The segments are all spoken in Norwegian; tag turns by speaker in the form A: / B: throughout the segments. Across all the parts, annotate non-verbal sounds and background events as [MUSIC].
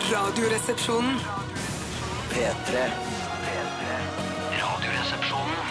A: Radioresepsjonen.
B: P3 Radioresepsjonen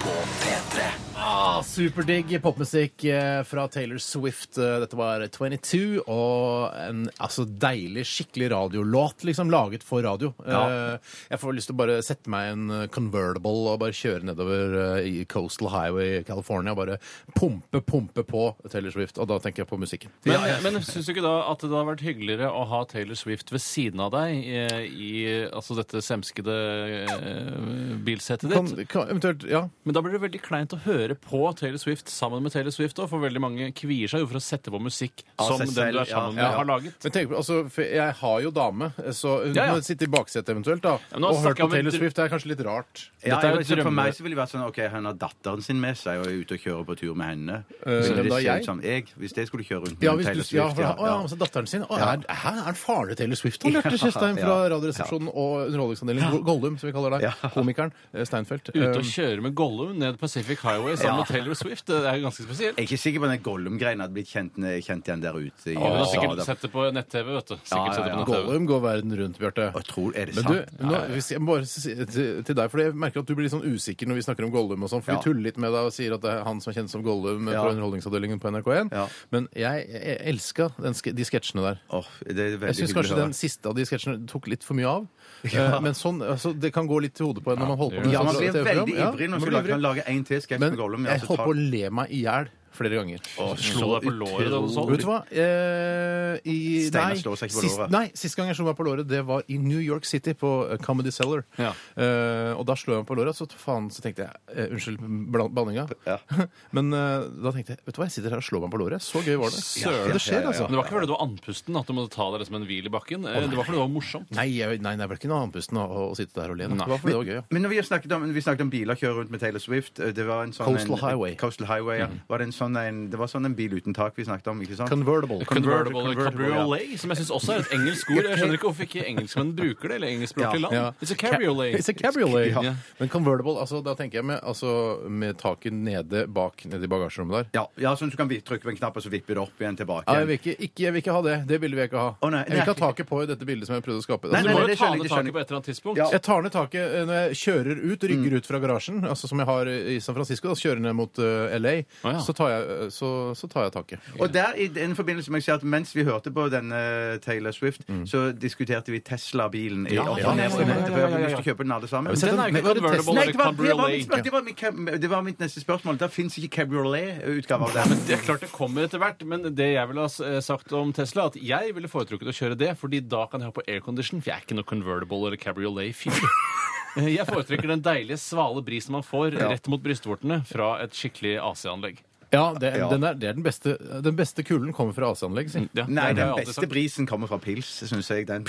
B: På P3
C: Ah, Superdigg popmusikk eh, fra Taylor Swift. Eh, Dette var 22 og en altså, deilig, skikkelig radiolåt, liksom, laget for radio. Eh, Jeg får lyst til å bare sette meg i en eh, convertible og bare kjøre nedover eh, i Coastal Highway i California og bare pumpe, pumpe på Taylor Swift. Og da tenker jeg på musikken.
D: Men, eh, men syns du ikke da at det hadde vært hyggeligere å ha Taylor Swift ved siden av deg eh, i altså dette semskede eh, bilsettet
C: Kan,
D: ditt?
C: kan, eventuelt, ja.
D: Men da blir det veldig kleint å høre på Taylor Swift sammen med Taylor Swift. Også, for veldig mange kvier seg jo for å sette på musikk
E: Av
D: som
E: seg
D: den du
E: selv,
D: er sammen
E: ja,
D: med,
E: ja.
D: har laget.
C: Men tenk på, altså, for jeg har jo dame, så hun
D: Ja, ja.
C: må sitte i baksetet eventuelt da,
D: men nå
C: og høre
D: snakker
C: på
D: jeg om-
C: Taylor Swift. Det er kanskje litt rart.
E: Ja,
D: Dette er jo
E: jeg vet ikke, for
D: drømme-
E: meg så ville det vært sånn OK, han har datteren sin med seg og er ute og kjører på tur med henne.
C: Eh, hvem
E: så det
C: da,
E: ser
C: jeg?
E: ut som jeg, Hvis jeg skulle kjøre rundt
C: Ja,
E: med
C: hvis du, ja,
E: Taylor
C: for,
E: Swift.
C: ja, å, ja,
E: ja.
C: altså datteren sin. Å,
E: Ja.
C: er, her er han faren til Taylor Swift? Han lærte Tjøstheim fra
E: [LAUGHS] Ja.
C: Radioresepsjonen og Underholdningsavdelingen Go- Goldum, som vi kaller deg.
E: Ja.
C: Komikeren eh, Steinfeld.
D: Ute
C: Eh,
D: og kjøre med Gollum ned Pacific Highway sammen med Taylor Swift. Det er jo ganske spesielt.
E: Jeg er ikke sikker på den Gollum-greien hadde blitt kjent, eh, kjent igjen der ute. i
D: Hun har
E: USA,
D: sikkert
E: da.
D: sett det på nett-TV, vet du.
E: Ja, ja,
D: Sikkert sett det
E: ja.
D: på nett-TV.
C: Gollum går verden rundt, Bjarte.
E: Og jeg tror, er det
C: Men
E: sant?
C: du, nå, hvis jeg må bare si til til deg, for jeg merker at du blir litt sånn usikker når vi snakker om Gollum og sånn, for
E: Ja.
C: vi tuller litt med deg og sier at det er han som er kjent som Gollum eh,
E: Ja.
C: fra Underholdningsavdelingen på NRK1.
E: Ja.
C: Men jeg, jeg elska den ske- de sketsjene der.
E: Åh, det er veldig
C: Jeg syns
E: hyggelig å
C: kanskje
E: høre.
C: den siste av de sketsjene tok litt for mye
E: [LAUGHS]
C: av. Eh, Men sånn, altså, det kan gå litt til hodet på en når man holder på med
E: Ja,
C: sånn
E: man blir
C: TV-program.
E: veldig
C: Ja,
E: ivrig når
C: man
E: man
C: blir
E: skal lage,
C: ivrig.
E: kan lage en til sketsj
C: Men
E: med Gollum. ja,
C: jeg
E: så
C: holdt
E: tar-
C: på å le meg i hjel flere ganger.
D: Slå deg på låret da du så
C: Vet du
D: den?
C: hva? Eh, i,
E: Steinar
C: nei,
E: slår seg ikke på
C: sist,
E: låret.
C: nei, sist gang jeg slo meg på låret, det var i New York City, på eh, Comedy Cellar.
D: Ja.
C: Eh, og da slo jeg meg på låret, så faen, så tenkte jeg eh, Unnskyld bla- banninga.
E: Ja.
C: [LAUGHS] Men eh, da tenkte jeg Vet du hva, jeg sitter her og slår meg på låret. Så gøy var det.
D: Søren.
C: Det skjer, altså.
D: Men det var ikke fordi du var andpusten at du måtte ta deg det som en hvil i bakken. Eh, Det var fordi det var morsomt.
C: Nei, jeg, nei, det er vel ikke noe andpusten å, å sitte der og le. Det var fordi det var gøy, ja.
E: Men når vi har snakket om, vi snakket om biler kjører rundt med Taylor Swift eh, det var en sånn,
C: Coastal
E: en,
C: Highway. Mm.
E: Coastal Highway, ja. Var det, en sånn, en, det var sånn en bil uten tak vi snakket om, ikke sant?
C: Convertible.
D: Convertible
E: convertible, ja.
D: cabriolet, som jeg syns også er et engelsk ord. Jeg skjønner ikke hvorfor ikke engelskmenn bruker det, eller engelskspråklige land.
C: Ja.
D: It's a cabriolet.
C: It's a cabriolet.
D: Ja.
C: Men convertible, altså, da tenker jeg med, altså, med taket nede bak nede i bagasjerommet der.
E: Ja, ja, sånn at du kan vi- trykke på en knapp, og så vipper det opp igjen tilbake.
C: Ja, jeg, vil ikke, ikke, jeg vil ikke ha det. Det bildet vil jeg ikke ha.
E: Å, nei,
C: jeg vil ikke
E: nei.
C: ha taket på i dette bildet som jeg prøvde å skape.
E: Nei,
D: Du
C: Altså,
E: nei,
D: må
E: nei,
D: jo
E: det
D: ta
E: skjønner
D: ned taket
E: jeg, det skjønner jeg.
D: på et eller annet tidspunkt.
E: Ja.
C: Jeg tar ned taket eh, når jeg kjører ut,
E: Mm.
C: rygger ut fra garasjen, altså som jeg har i San Francisco, da, så kjører jeg ned mot eh, LA,
D: Å, ja.
C: så, tar jeg, eh, så, så tar jeg taket.
E: Og der i den forbindelse må jeg si at mens vi hørte på denne Taylor Swift, så diskuterte vi Tesla-bilen. i
D: Mm. Ja,
E: opp-
D: ja,
E: og
D: ja,
E: ned-
D: ja, ja, ja,
E: for
D: ja,
E: jeg hadde
D: ja.
E: lyst til å kjøpe den alle sammen.
C: Ja, vi
E: Men-
C: setter-
D: Den er jo
C: Men
D: ikke
C: var det
D: convertible
E: Nei,
D: eller
E: det var, det, var
D: cabriolet.
E: mitt, spørsmål, det, var mitt, cab- det var mitt neste spørsmål. Der fins ikke cabriolet-utgave av det.
D: Det er klart det kommer etter hvert, men det jeg ville ha s- eh, sagt om Tesla, at jeg ville foretrukket å kjøre det, fordi da kan jeg ha på aircondition, for jeg er ikke noe convertible eller cabriolet-fyr. Eh, [LAUGHS] Jeg foretrekker den deilige, svale brisen man får rett mot brystvortene fra et skikkelig AC-anlegg.
C: Ja, det,
E: Ja.
C: Den er, det er den beste, den beste kulen kommer fra AC-anlegg, si.
D: Ja,
E: Nei,
D: det har
E: den
D: jeg alltid
E: beste
D: sagt.
E: brisen kommer fra pils, syns jeg. Den.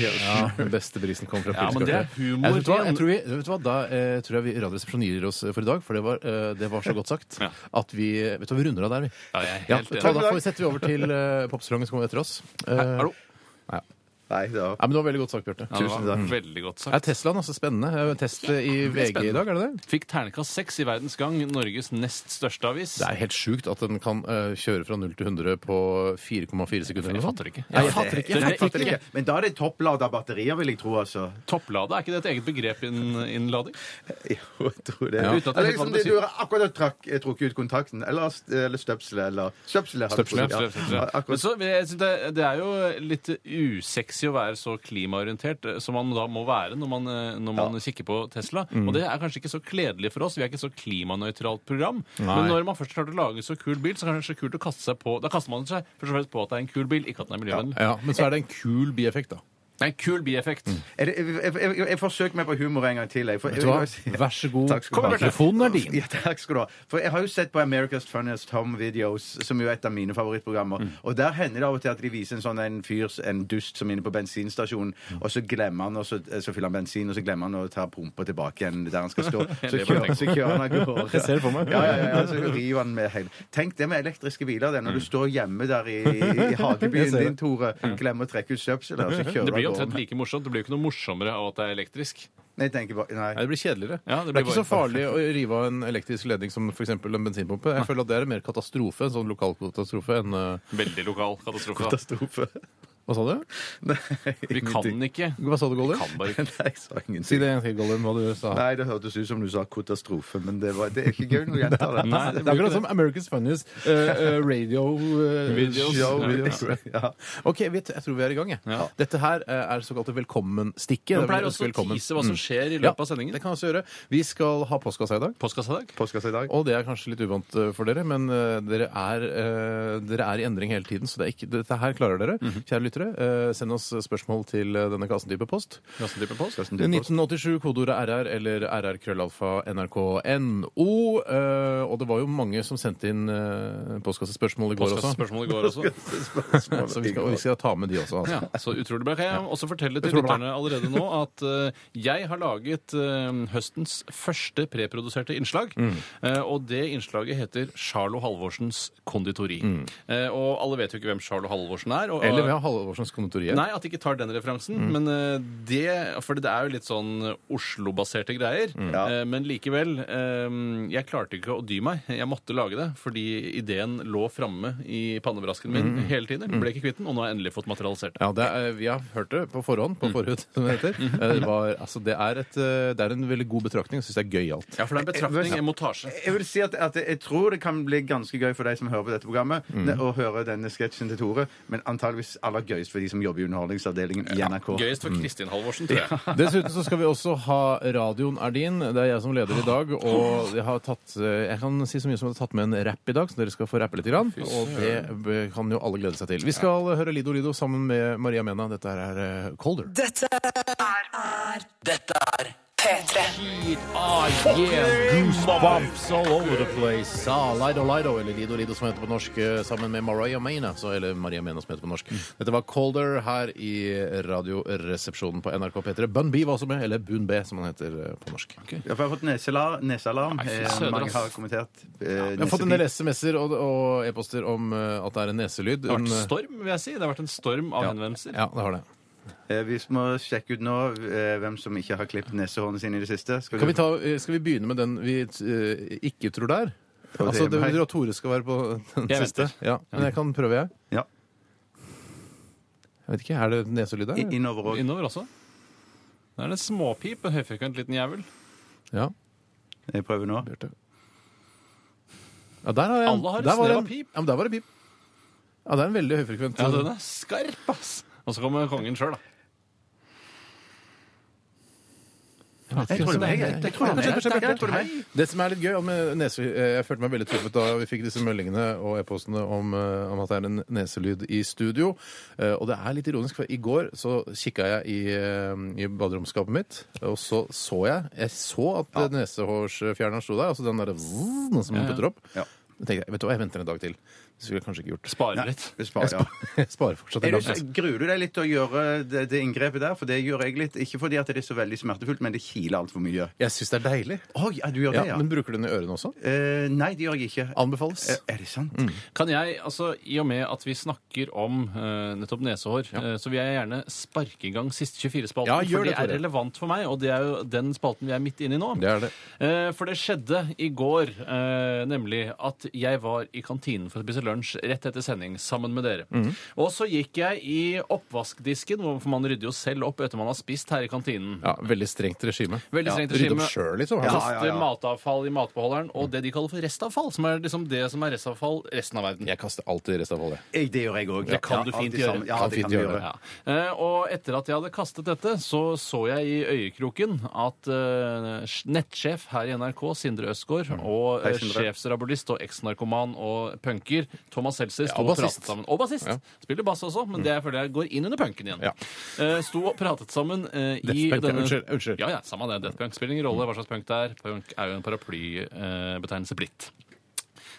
C: Ja, [LAUGHS] den beste brisen kom fra
D: Ja, men
C: pilskaffe.
D: det er humor.
C: Jeg, vet du hva, jeg tror vi, vet du hva, da eh, tror jeg vi Radioresepsjonen gir oss for i dag, for det var, eh, det var så godt sagt
D: Ja.
C: at vi Vet du hva, vi runder av der, vi.
D: Ja, jeg er
C: Ja,
D: helt
C: ta, da
D: enig.
C: får vi setter vi over til eh, popsalongen som kommer etter oss. Eh,
D: Hallo?
E: Nei, det var
C: ja, men det var veldig godt sagt, Bjarte.
D: Ja, det
E: Tusen
D: var
E: takk.
D: veldig godt sagt.
C: Er Teslaen altså spennende? Eh, Test i VG i dag, er det det?
D: Fikk ternekast 6 i Verdens Gang, Norges nest største avis.
C: Det er helt sjukt at den kan eh, kjøre fra 0 til 100 på 4,4 sekunder. eller
D: Jeg
C: noe
D: fatter
C: sånt.
D: ikke.
C: Nei, jeg fatter ikke. Jeg
D: Det er
C: fatter
E: ikke.
C: ikke.
E: Men da er det topplada batterier, vil jeg tro. altså.
D: Topplade, er ikke det et eget begrep innen innlading?
E: [LAUGHS] Jo, jeg tror det.
C: Ja.
D: vet
E: Uten at jeg eller
D: hva
E: liksom
D: det
E: det du har akkurat trakk, eh, trukket ut kontakten. Eller, ast- eller støpselet. Eller støpselet. har du
C: Støpselet,
E: trukket.
D: Absolutt,
E: Ja,
D: absolutt. Men
E: akkurat.
D: så, men jeg synes det, det er jo litt usexy å være så klimaorientert eh, som man da må være når man, eh, når man kikker på Tesla.
C: Mm.
D: Og det er kanskje ikke så kledelig for oss. Vi er ikke så klimanøytralt program. Men når man først klarte å lage en så kul bil, så er det kanskje kult å kaste seg på Da kaster man seg først og fremst på at det er en kul bil, ikke at den er miljøvennlig.
C: Ja, men så er det en kul bieffekt, da.
D: Det er en kul bieffekt.
C: Mm.
E: Er det- Jeg, jeg, jeg, jeg forsøker meg på humor en gang til. Jeg, for,
C: Vet du hva? Vær så god.
E: Takk skal du ha.
C: Mikrofonen er din.
E: [LAUGHS] Ja, takk skal du ha. For jeg har jo sett på America's Funniest Home Videos, som jo er et av mine favorittprogrammer. Og der hender det av og til at de viser en sånn en fyr, en dust, som er inne på bensinstasjonen, og så glemmer han, og så, eh, så fyller han bensin, og så glemmer han å ta pumpa tilbake igjen der han skal stå. Så
D: Det var
E: kjører, så kjører han av gårde.
C: Jeg ser det for meg.
E: Ja, ja, ja, ja, så river han med hele. Tenk det med elektriske biler, det. Når du står hjemme der i, i
C: Jeg
E: hagebyen
C: ser det.
E: din, Tore, glemmer å trekke ut søpselet, og så kjører
D: Det blir jo
E: han av
D: omtrent
E: gårde.
D: like morsomt. Det blir jo ikke noe morsommere av at det er elektrisk.
E: Nei, jeg tenker bare
C: Nei,
E: Nei.
C: det blir kjedeligere.
D: Ja, det
C: det,
D: blir
C: er ikke så
D: bare-
C: farlig å rive av en elektrisk ledning som f.eks. en bensinpumpe. Jeg føler at det er en mer katastrofe, en sånn lokal katastrofe, enn eh,
D: Veldig lokal katastrofe. da.
E: Katastrofe.
C: Hva sa du?
E: [LAUGHS] Nei,
D: Vi kan ikke.
C: Hva sa du, Gollum?
D: Kan bare ikke.
E: [LAUGHS] Nei, jeg sa ingenting.
C: Si det en gang til, Gollum, hva du sa.
E: Nei, det hørtes ut som du sa katastrofe, men det, var, det er ikke
C: [LAUGHS]
E: gøy når du gjentar det.
D: Nei,
C: Det er akkurat som America's Funniest eh, eh, radio... eh,
D: Videos.
E: Show,
C: show, videos.
E: [LAUGHS] Ja.
C: Ok, vi, jeg tror vi er i gang. Jeg.
D: Ja.
C: Dette her eh, er såkalte velkommen-stikket.
D: Man
C: Det vil
D: pleier
C: jeg ønske
D: også å
C: velkommen. Mm.
D: tease hva som skjer i
C: Ja,
D: løpet av sendingen.
C: Det kan vi også gjøre. Vi skal ha postkassa i dag.
D: Postkassa i dag.
E: Postkassa i dag.
C: Og det er kanskje litt uvant eh, for dere, men eh, dere, er, eh, dere er i endring hele tiden, så det er ikke, dette her klarer dere.
D: Mhm.
C: Kjære lyttere, eh, send oss spørsmål til eh, denne kassen type post.
D: Hva slags type post?
E: Karsten, du- [LAUGHS]
C: 1987, kodeordet RR eller rrkrøllalfa nrk.no. eh, og det var jo mange som sendte inn eh, postkassespørsmål i går også.
D: Postkassespørsmål i går
C: [LAUGHS]
D: også.
C: Så vi skal, og vi skal ta med de også. Altså.
D: Ja, så utrolig bra. Kan jeg også fortelle til
C: Utrolig bra.
D: lytterne allerede nå at eh, jeg har laget eh, høstens første preproduserte innslag.
C: Mm.
D: Eh, og det innslaget heter Charlo Halvorsens konditori. Eh, og alle vet jo ikke hvem Charlo Halvorsen er. Og,
C: Mm. Eller vi har Halvorsens konditori.
D: Nei, at de ikke tar den referansen. Men eh, det For det er jo litt sånn Oslo-baserte greier.
E: Ja.
D: Eh, men likevel eh, Jeg klarte ikke å dy meg. Jeg måtte lage det fordi ideen lå framme i pannebrasken min hele tiden. Jeg Ble ikke kvitt den, og nå har jeg endelig fått materialisert det.
C: Ja, det er, vi har hørt det på forhånd,
D: Mm.
C: på forhud, som det heter. Eh, Det, var, altså, det, er et, eh, det er en veldig god betraktning. Jeg syns det er gøyalt.
D: Ja, for det er en betraktning, en montasje.
E: Jeg vil si at, at jeg tror det kan bli ganske gøy for deg som hører på dette programmet,
C: Mm.
E: ne- å høre denne sketsjen til Tore, men antageligvis aller gøyest for de som jobber i Underholdningsavdelingen i NRK.
D: Gøyest for Kristin Halvorsen, tror jeg.
C: Dessuten så skal vi også ha Radioen er din. Det er jeg som leder i dag. Og jeg har tatt eh, Jeg kan si så mye som jeg har tatt med en rapp i dag, så dere skal få rappe litt. Grann, og det b- kan jo alle glede seg til. Vi skal eh, høre Lido Lido sammen med Maria Mena. Dette her er eh, Colder.
B: Dette er Dette er P3.
C: Ah, yeah, goosebumps all over the place. Ah, Lido Lido, eller Lido Lido som heter på norsk, eh, sammen med Mariah Mena, så, eller Maria Mena som heter på norsk. Dette var Calder her i radioresepsjonen på NRK P3. Bun B var også med, eller Bun B, som han heter eh, på norsk.
E: Ja, for jeg har fått nesealar- nesealarm.
D: fy
E: Eh,
D: søder,
E: Mange
D: ass.
E: har kommentert.
C: Vi
E: eh,
C: har fått en
E: nesepip.
C: del SMS-er og, og e-poster om eh, at det er en neselyd.
D: Det har vært
C: En, eh,
D: storm, vil jeg si. Det har vært en storm av henvendelser.
C: ja, det har det.
E: Eh, Vi må sjekke ut nå eh, hvem som ikke har klippet nesehårene sine i det siste. Skal
C: Kan vi
E: du-
C: ta, eh, skal vi begynne med den vi eh, ikke tror det er?
E: Prøv
C: Altså,
E: det
C: det
E: hjemme
C: betyr
E: her.
C: at Tore skal være på den
D: Jeg
C: siste.
D: venter.
C: Ja, men jeg kan prøve, jeg.
E: Ja.
C: Jeg vet ikke, Er det neselyd
E: I-
C: der?
E: Innover òg.
D: Innover også. Det er en småpip, en høyfrekvent liten jævel.
C: Ja.
E: Jeg prøver nå.
C: Bjarte. Ja, der har jeg
D: Alle har et
C: der var
D: snev
C: en-
D: av pip.
C: Ja, men der var det pip. Ja, det er en veldig høyfrekvent eh,
D: Ja, den er skarp, ass! Og så kommer kongen sjøl, da.
C: Jeg
E: tror det er meg, jeg.
C: Kanskje-
E: Jeg tror det er meg.
C: kanskje det er Bjarte.
E: Jeg tror det er meg.
C: Det som er litt gøy med nese... eh, Jeg følte meg veldig truffet da vi fikk disse meldingene og e-postene om, eh, om at det er en neselyd i studio. Eh, Og det er litt ironisk, for i går så kikka jeg i, eh, i baderomsskapet mitt, og så så jeg Jeg så at eh, nesehårsfjerneren sto der, altså den derre vzz, som man
D: ja.
C: putter opp.
E: Ja.
C: Da tenkte jeg, vet du hva, jeg venter en dag til. Det skulle jeg kanskje ikke gjort. [LAUGHS]
D: Sparer litt.
E: Vi sparer, ja.
C: Jeg sparer fortsatt
E: Er
C: en
E: du,
C: dag. til.
E: gruer du deg litt til å gjøre det, det inngrepet der? For det gjør jeg litt. Ikke fordi at det er så veldig smertefullt, men det kiler altfor mye.
C: Jeg syns det er deilig.
E: Oi, ja, du gjør
C: Ja,
E: det, ja?
C: Men bruker du den i ørene også?
E: Eh, nei, det gjør jeg ikke.
C: Anbefales.
E: Eh, Er det sant?
D: Kan jeg, altså, I og med at vi snakker om eh, nettopp nesehår, eh, så vil jeg gjerne sparke i gang Siste 24-spalten.
C: Ja, gjør
D: for
C: det,
D: det er
C: Tore.
D: relevant for meg, og det er jo den spalten vi er midt inne i nå.
C: Det er det.
D: Eh, for det skjedde i går, eh, nemlig at jeg var i kantinen for å spise lunsj rett etter sending sammen med dere.
C: Mhm.
D: Og så gikk jeg i oppvaskdisken, hvorfor man rydder jo selv opp etter man har spist her i kantinen.
C: Ja, Veldig strengt regime.
D: Veldig strengt
C: Ja, Rydde
D: regime.
C: opp sjøl, liksom.
E: Ja.
C: Altså.
D: Kaste matavfall i matbeholderen og det de kaller for restavfall, som er liksom det som er restavfall resten av verden.
C: Jeg kaster alltid restavfallet.
E: Jeg, det gjør jeg òg.
D: Det kan du fint gjøre.
E: Ja,
C: Kan
E: det
C: fint
E: kan du
C: gjøre.
E: gjøre.
D: Ja. Eh, Og etter at jeg hadde kastet dette, så så jeg i øyekroken at eh, nettsjef her i NRK, Sindre Østgaard,
C: Mm.
D: og
E: Hei,
D: eh,
E: Sindre.
D: sjefsrabulist og eksnarkoman og punker Thomas Seltzer sto
C: og
D: og
C: bassist.
D: pratet sammen. Og bassist.
C: Ja. Mm.
D: Spiller bass også, men det er fordi jeg går inn under punken igjen.
C: Ja.
D: Eh, Sto og pratet sammen eh, i
C: Death punk, ja.
D: denne
C: Unnskyld, unnskyld.
D: Ja, ja, samme det. Death punk spiller ingen rolle hva slags punk det er. Punk er jo en paraplybetegnelse eh, blitt.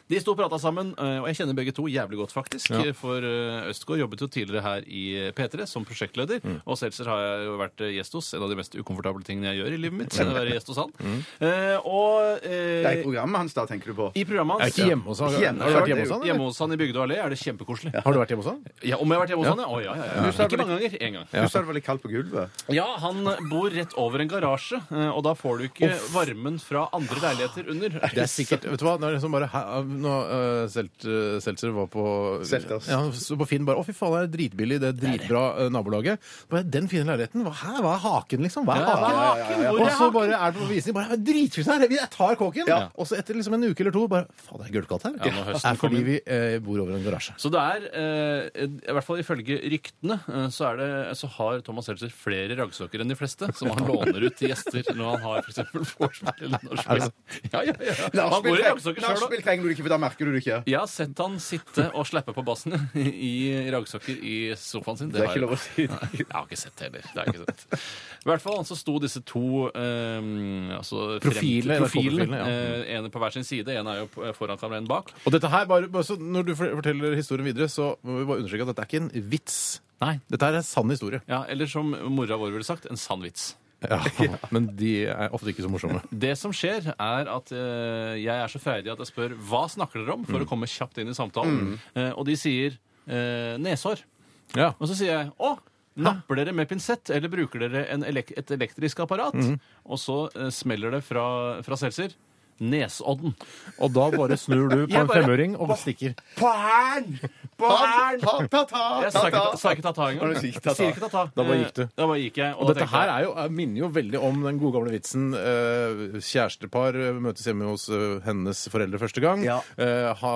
D: De sto og prata sammen, eh, og jeg kjenner begge to jævlig godt, faktisk.
C: Ja.
D: For eh, Østgaard jobbet jo tidligere her i eh, P3 som prosjektleder.
C: Mm.
D: Og Seltzer har jeg jo vært eh, gjest hos. En av de mest ukomfortable tingene jeg gjør i livet mitt. er å være gjest hos han.
C: Mm.
D: Eh, Og
E: Det er
D: eh,
E: programmet hans, da, tenker du på?
D: i
C: Er
D: programmet hans
C: ikke hjemme hos han?
E: Hjemme.
C: Har du vært hjemme hos han?
D: Hjemme
C: Eller?
D: hos han i Bygdøy allé er det kjempekoselig. Ja.
C: Har du vært hjemme hos han?
D: om jeg har vært hjemme hos han? Ja. Å, ja, ja, ja. Ikke mange ganger. Én gang.
E: Du sa det var litt kaldt på gulvet.
D: Ja, han bor rett over en garasje, eh, og da får du ikke varmen fra andre leiligheter under.
C: Det er sikkert, vet du hva, det er liksom bare, her- nå eh, Selt, eh, Seltzer var på
E: Selters.
C: Ja, han så på Finn bare 'Å, fy faen, det er dritbillig. Det er dritbra eh, nabolaget'. Bare, den fine leiligheten. Hva, hæ, hva er haken, liksom? Hva er
D: Ja,
C: haken?
D: ja, ja, ja, ja.
C: Og så bare er det på visning. Bare, Dritfint her! Jeg tar kåken!
E: Ja.
C: Og så etter liksom en uke eller to bare Faen, det er gulvkaldt her.
D: Ja, når
C: det
D: høsten
C: er fordi
D: kommer.
C: vi eh, bor over en garasje.
D: Så det er, eh, i hvert fall ifølge ryktene, eh, så, er det, så har Thomas Seltzer flere raggsokker enn de fleste, som han låner ut til gjester når han har f.eks. vorspiel eller nachspiel. Ja, ja, ja. Han går i raggsokker sjøl òg.
E: Nachspiel trenger du ikke, for da merker du det ikke.
D: Jeg har sett han sitte og slappe på bassen i raggsokker i sofaen sin.
E: Det er
D: har
E: ikke
D: jeg-
E: lov å si.
D: Nei, jeg har ikke sett det heller. Det har jeg ikke sett. I hvert fall så sto disse to um, altså,
C: Profilene,
D: frem- profilene,
C: profilene, ja.
D: eh, ene på hver sin side. En er jo på- foran kameraet, en bak.
C: Og dette her, bare, bare så Når du for- forteller historien videre, så må vi bare understreke at dette er ikke en vits.
D: Nei.
C: Dette her er sann historie.
D: Ja, Eller som mora vår ville sagt, en sann vits.
C: [LAUGHS] Ja. Men de er ofte ikke så morsomme.
D: Det som skjer, er at eh, jeg er så freidig at jeg spør hva snakker dere om, for å komme kjapt inn i samtalen. Eh, og de sier eh, nesår.
C: Ja.
D: Og så sier jeg å, napper dere med pinsett, eller bruker dere en elek et elektrisk apparat? Og så eh, smeller det fra, fra Seltzer. Nesodden.
C: Og da bare snur du på
D: Jeg
C: en
D: bare-
C: femøring og stikker.
E: Barn! Barn!
D: Jeg sa ikke sa ikke ta-ta engang.
E: Har du
D: Jeg
E: sikkert ta-ta?
D: sier ikke ta-ta.
C: Da bare gikk du.
D: Eh, Da bare gikk jeg.
C: Og dette her
D: er
C: er jo, er- minner jo veldig om den gode gamle vitsen eh, kjærestepar eh, møtes hjemme hos eh, hennes foreldre første gang.
E: Ja.
C: Eh, ha,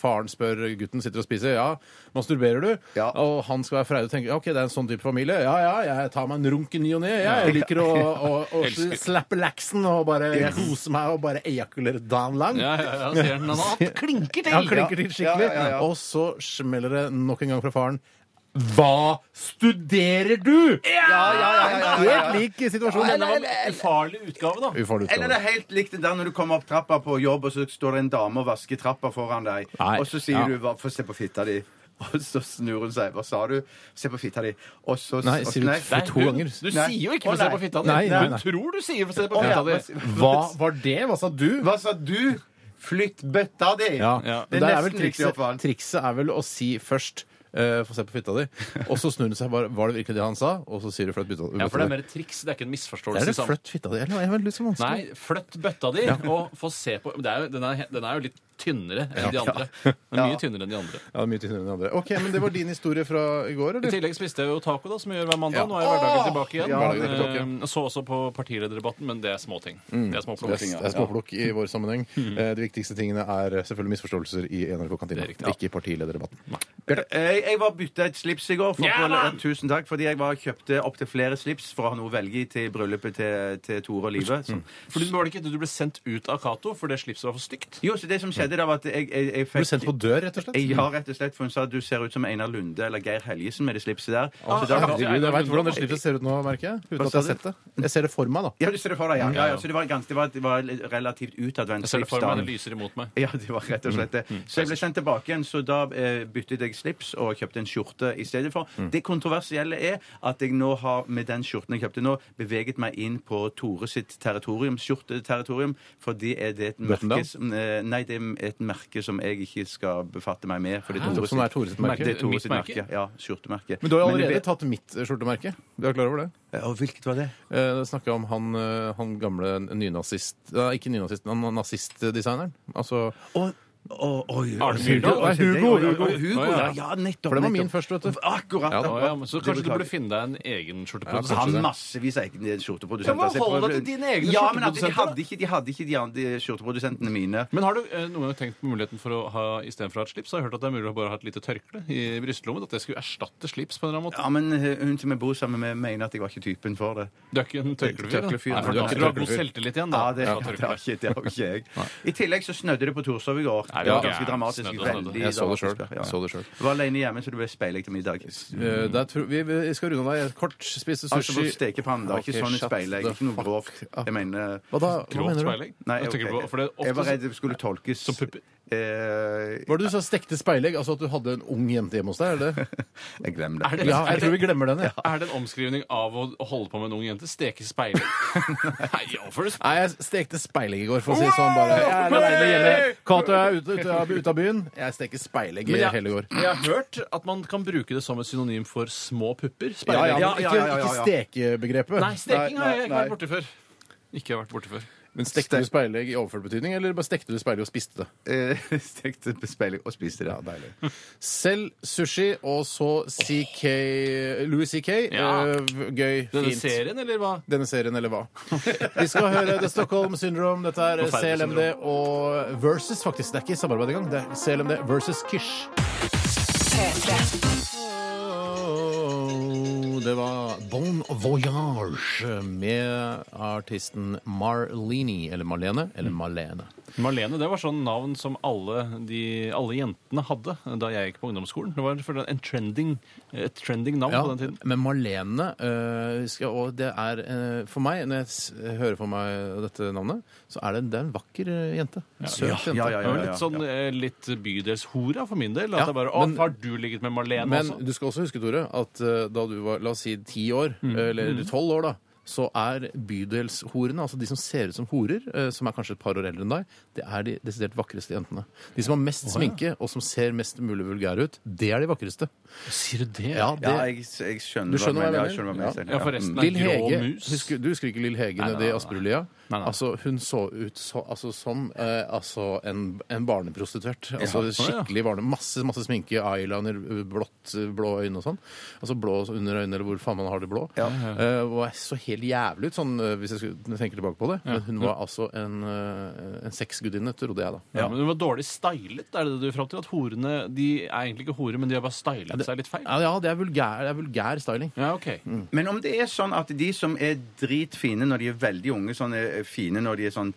C: faren spør gutten sitter og spiser. Ja, masturberer du?
E: Ja.
C: Og han skal være freidig og tenke ok, det er en sånn type familie. Ja ja, jeg tar meg en runk i ny og ne. Ja, jeg liker å, å, å
D: Elsker.
C: slappe laksen og bare kose meg og bare ejakulere dagen lang.
D: ja, ja, ja, sier han. Han har hatt klinker til!
C: Han klinker til skikkelig,
E: Ja, ja, ja, ja.
C: og så smeller det nok en gang fra faren. Hva studerer du?!
E: Ja, ja, ja, ja, ja, ja.
C: Helt lik situasjon.
D: Men det var en ufarlig utgave, da.
C: Ufarlig
E: Eller det er helt likt det der når du kommer opp trappa på jobb, og så står det en dame og vasker trappa foran deg,
C: Nei,
E: og så sier
C: ja.
E: du hva- 'få se på fitta di', [LAUGHS] og så snur hun seg. 'Hva sa du?' 'Se på fitta di', og så
C: Nei,
E: og-
C: sier du
D: Nei,
C: to
D: hun,
C: ganger.
D: Du
E: Nei.
D: sier jo ikke
E: Å,
D: 'få se
E: nei.
D: på fitta di'.
C: Nei, nei,
D: Hun
C: nei.
D: tror du sier 'få se på
E: Å, ja,
D: fitta di'.
E: hva-
C: Hva
E: [LAUGHS]
C: var det? Hva sa du?
E: Hva sa du? Flytt bøtta di!
D: Ja.
E: Det
C: Det
E: er
C: er vel
E: nesten riktig
C: trikset,
E: oppvarm.
C: trikset er vel å si først eh, Få se på
E: [LAUGHS]
C: fitta di. Og så snur hun seg bare Var det virkelig det han sa? Og så sier du fløtt fitta di.
D: Ja, for det er mer et triks. Det er ikke en misforståelse.
C: Er det
E: sånn.
D: i sam-
C: fløtt fitta di? Eller er det vel litt så vanskelig?
D: Nei, flytt bøtta di og få se på men det er jo, den, er, den er jo litt tynnere enn de andre. Den er mye tynnere enn de andre.
C: Ja, det er mye tynnere enn de andre. Ok, men Det var din historie fra i går,
D: I
C: eller?
D: tillegg spiste jeg jo taco, da, som jeg gjør hver mandag.
C: Ja.
D: Nå er jo hverdagen tilbake igjen.
E: Ja,
C: hverdagen er tilbake.
D: Eh, så også på partilederdebatten, men det er småting. Det er
C: Mm. Det
D: småplukking.
C: er småplukk [LAUGHS] i vår sammenheng. Eh, De viktigste tingene er eh, selvfølgelig misforståelser i NRK-kantina.
D: Det er riktig, ja.
C: Ikke i partilederdebatten.
E: Jeg, jeg var bytta et slips i går. For,
D: Ja, da!
E: tusen takk. Fordi jeg var kjøpte opptil flere slips for å ha noe å velge i til bryllupet til, til Tore og Live. som-
D: For du, var det ikke at du ble sendt ut av Cato fordi slipset var for stygt?
E: Jo, så det som skjedde, da var at jeg, jeg, jeg
C: Ble du
E: fikk
C: sendt på dør, rett og slett?
E: Jeg har rett og slett, for Hun sa at du ser ut som Einar Lunde eller Geir Helgesen med det slipset der. Så da-
C: Herregud, jeg veit Altså, hvordan det slipset ser ut nå, merker jeg. Uten at jeg har sett det. Jeg ser det for meg, da.
E: Ja, du ser det for deg, ja. ja, ja. Så det var, ganske, det var, det var relativt utadvendt.
D: Jeg ser det for meg, det
E: slipsdagen.
D: lyser imot meg.
E: [LAUGHS] Ja, det var rett og slett det.
C: Mm,
E: Så jeg ble sendt tilbake igjen, så da eh, byttet jeg slips og kjøpte en skjorte i stedet for.
C: Mm.
E: Det kontroversielle er at jeg nå har, med den skjorten jeg kjøpte nå, beveget meg inn på Tore sitt territorium, skjorteterritorium, fordi er det et merke
C: Bøttendal?
E: som, eh, Nei, det er et merke som jeg ikke skal befatte meg med. Fordi
C: Hæ? Som er Tore sitt merke?
E: Det er Tore
D: Mitt
E: sitt
D: merke?
E: merke. Ja, skjortemerke.
C: Men du har jo
E: jeg
C: allerede
E: vet-
C: tatt mitt eh, skjortemerke. Du er klar over det?
E: Og hvilket var det?
C: Eh, Snakka om han, eh, han gamle nynazist Nei, ikke nynazist, men han nazistdesigneren. Altså,
E: Å, å, oi,
D: Arne
E: oi,
D: Myrdal?
E: oi, oi,
C: Nei, Hugo,
E: oi, oi,
C: Hugo.
E: oi, Hugo,
D: Å, ja.
E: ja, ja, nettopp.
C: For det var
E: nettopp.
C: min først, vet du.
E: Akkurat.
C: Ja, det
D: Å,
E: akkurat.
D: ja, men så
E: Det
D: kanskje du
E: beklager.
D: burde finne deg en egen skjorteprodusent?
E: Jeg har massevis av egne
D: Ja,
E: skjorteprodusenter.
D: men
E: så jeg
D: hold
E: prøver-
D: deg til dine egne
E: ja, men at de
D: skjorteprodusenter,
E: hadde
D: da.
E: ikke, de hadde ikke de andre skjorteprodusentene mine.
D: Men har du eh, noen gang tenkt på muligheten for å ha istedenfor å ha et slips? Har jeg hørt at det er mulig å bare ha et lite tørkle i brystlommen? At det skulle erstatte slips på en eller annen måte?
E: Ja, men eh, hun som jeg bor sammen med, mener at jeg var ikke typen for det.
D: Du er ikke en tørklefyr? da?
E: Tørklefyr,
D: Nei, for da
E: nei, du er ikke
D: skulle du hatt god
C: tørklefyr.
D: selvtillit igjen, da.
E: Ja, det,
D: Ja,
E: det,
D: tørkle.
E: har ikke, det har ikke
D: [LAUGHS]
E: jeg. I tillegg så snødde det på Torshov i går.
D: Nei,
E: det var
D: det er
E: ganske
D: gærent.
E: dramatisk.
D: Snødde og snødde.
E: veldig
C: Jeg så det
E: dramatisk,
C: selv.
E: ja.
C: Jeg så det selv.
E: Jeg var alene hjemme, så det ble speilegg til middag.
C: Eh, der tror vi, vi skal runde av. Jeg kort spiste
E: Altså på
C: sushi.
E: stekepanne. Det var ikke
C: Ok,
E: sånn et
C: shut
E: speilegg.
C: the
E: Ikke noe
C: fuck
E: grovt.
C: up.
E: Jeg mener
C: Hva da? Hva
D: Grovt
C: mener du?
D: speilegg?
E: Nei,
D: Jeg tenker
E: ok.
D: på- for det er ofte
E: Jeg var
D: så-
E: redd det skulle tolkes
D: Som pupper.
E: Eh,
C: Var det du sa stekte speilegg? Altså at du hadde en ung jente hjemme hos deg? Er det? det?
E: jeg glemmer
D: Er
E: det.
D: det,
C: Ja,
D: er,
C: jeg tror vi
D: det,
C: glemmer den. jeg.
D: er det en omskrivning av å holde på med en ung jente? Steke speilet? Nei, ja, for det
C: Nei, jeg stekte speilegg i går, for å si det sånn. Bare. Jeg er alene hjemme. Cato er ute, ute, av- ute av byen. Jeg steker speilegg i
D: Men jeg-
C: hele går.
D: jeg har hørt at man kan bruke det som et synonym for små pupper.
C: Ja,
D: Speilegg.
C: ja, men
E: ja,
C: ikke,
E: ja, ja,
C: ikke
E: ja.
C: stekebegrepet.
D: Nei, steking har jeg
E: Nei,
D: ikke
E: nei,
D: vært borti før. Ikke vært borti før.
C: Men Stekte du speilegg i overført betydning, eller bare stekte du speilegg og spiste det?
E: Eh, Stekte på speiling og spiste det.
C: Ja, deilig. Selv sushi og så CK Louis CK.
D: Ja.
C: eh, Gøy.
D: Denne
C: Fint.
D: serien, eller hva?
C: Denne serien, eller hva? Vi skal høre The Stockholm Syndrome. Dette er
D: Forferdelig
C: CLMD og Versus, faktisk. Det er ikke samarbeid engang. Det er CLMD versus Kysh.
B: P3.
C: Oh, Det var Bon Voyage med artisten Marlene, eller Marlene,
E: Mm.
C: eller Marlene.
D: Marlene det var sånn navn som alle, de, alle jentene hadde da jeg gikk på ungdomsskolen. Det var for en trending, et trending navn
C: Ja,
D: på den tiden.
C: men Marlene øh, skal, Og det er øh, for meg, når jeg s- hører for meg dette navnet, så er det, det er en vakker øh, jente. En søt jente.
E: Ja, ja,
D: Det
E: ja,
D: var
E: ja,
D: litt sånn
E: ja.
D: eh, litt bydelshora for min del. At
C: Ja,
D: jeg bare, å,
C: men-
D: Har du ligget med Marlene
C: Men
D: også?
C: du skal også huske, Tore, at eh, da du var la oss si ti år,
D: Mm.
C: eh, eller tolv år, da, så er bydelshorene, altså de som ser ut som horer, eh, som er kanskje et par år eldre enn deg, det er de desidert vakreste jentene. De som har mest sminke, og som ser mest mulig vulgære ut, det er de vakreste.
D: Sier du det?
C: Ja,
E: Ja,
C: det...
E: jeg, jeg skjønner
C: Du skjønner hva jeg
E: Ja,
C: mener?
E: skjønner hva jeg mener.
D: Ja, for resten
E: Mm.
D: er
C: Lill
D: grå
C: Hege,
D: mus.
C: husker, du husker ikke Lill Hege
D: nei,
C: nede i
D: nei, nei.
C: Asperulia?
D: Nei, nei.
C: Altså, hun så ut så, altså, som eh, altså, en, en barneprostituert. Altså
D: Ja, sånn, ja.
C: skikkelig barne. Masse masse sminke, eyeliner, eh, blått, blå øyne og sånn. Altså blå under øynene, eller hvor faen man har det blå.
E: Ja.
C: Eh, og jeg så helt jævlig ut, sånn, eh, hvis jeg skulle tenke tilbake på det. Men hun var altså en, eh, en sexgudinne, trodde jeg da.
D: Ja, men Hun var dårlig stylet, er det det du er fram til? At horene de er egentlig ikke horer, men de har bare stylet seg litt feil?
C: Ja, ja det, er vulgær, det er vulgær styling.
D: Ja, ok.
E: Men om det er sånn at de som er dritfine når de er veldig unge, sånn er fine når de er sånn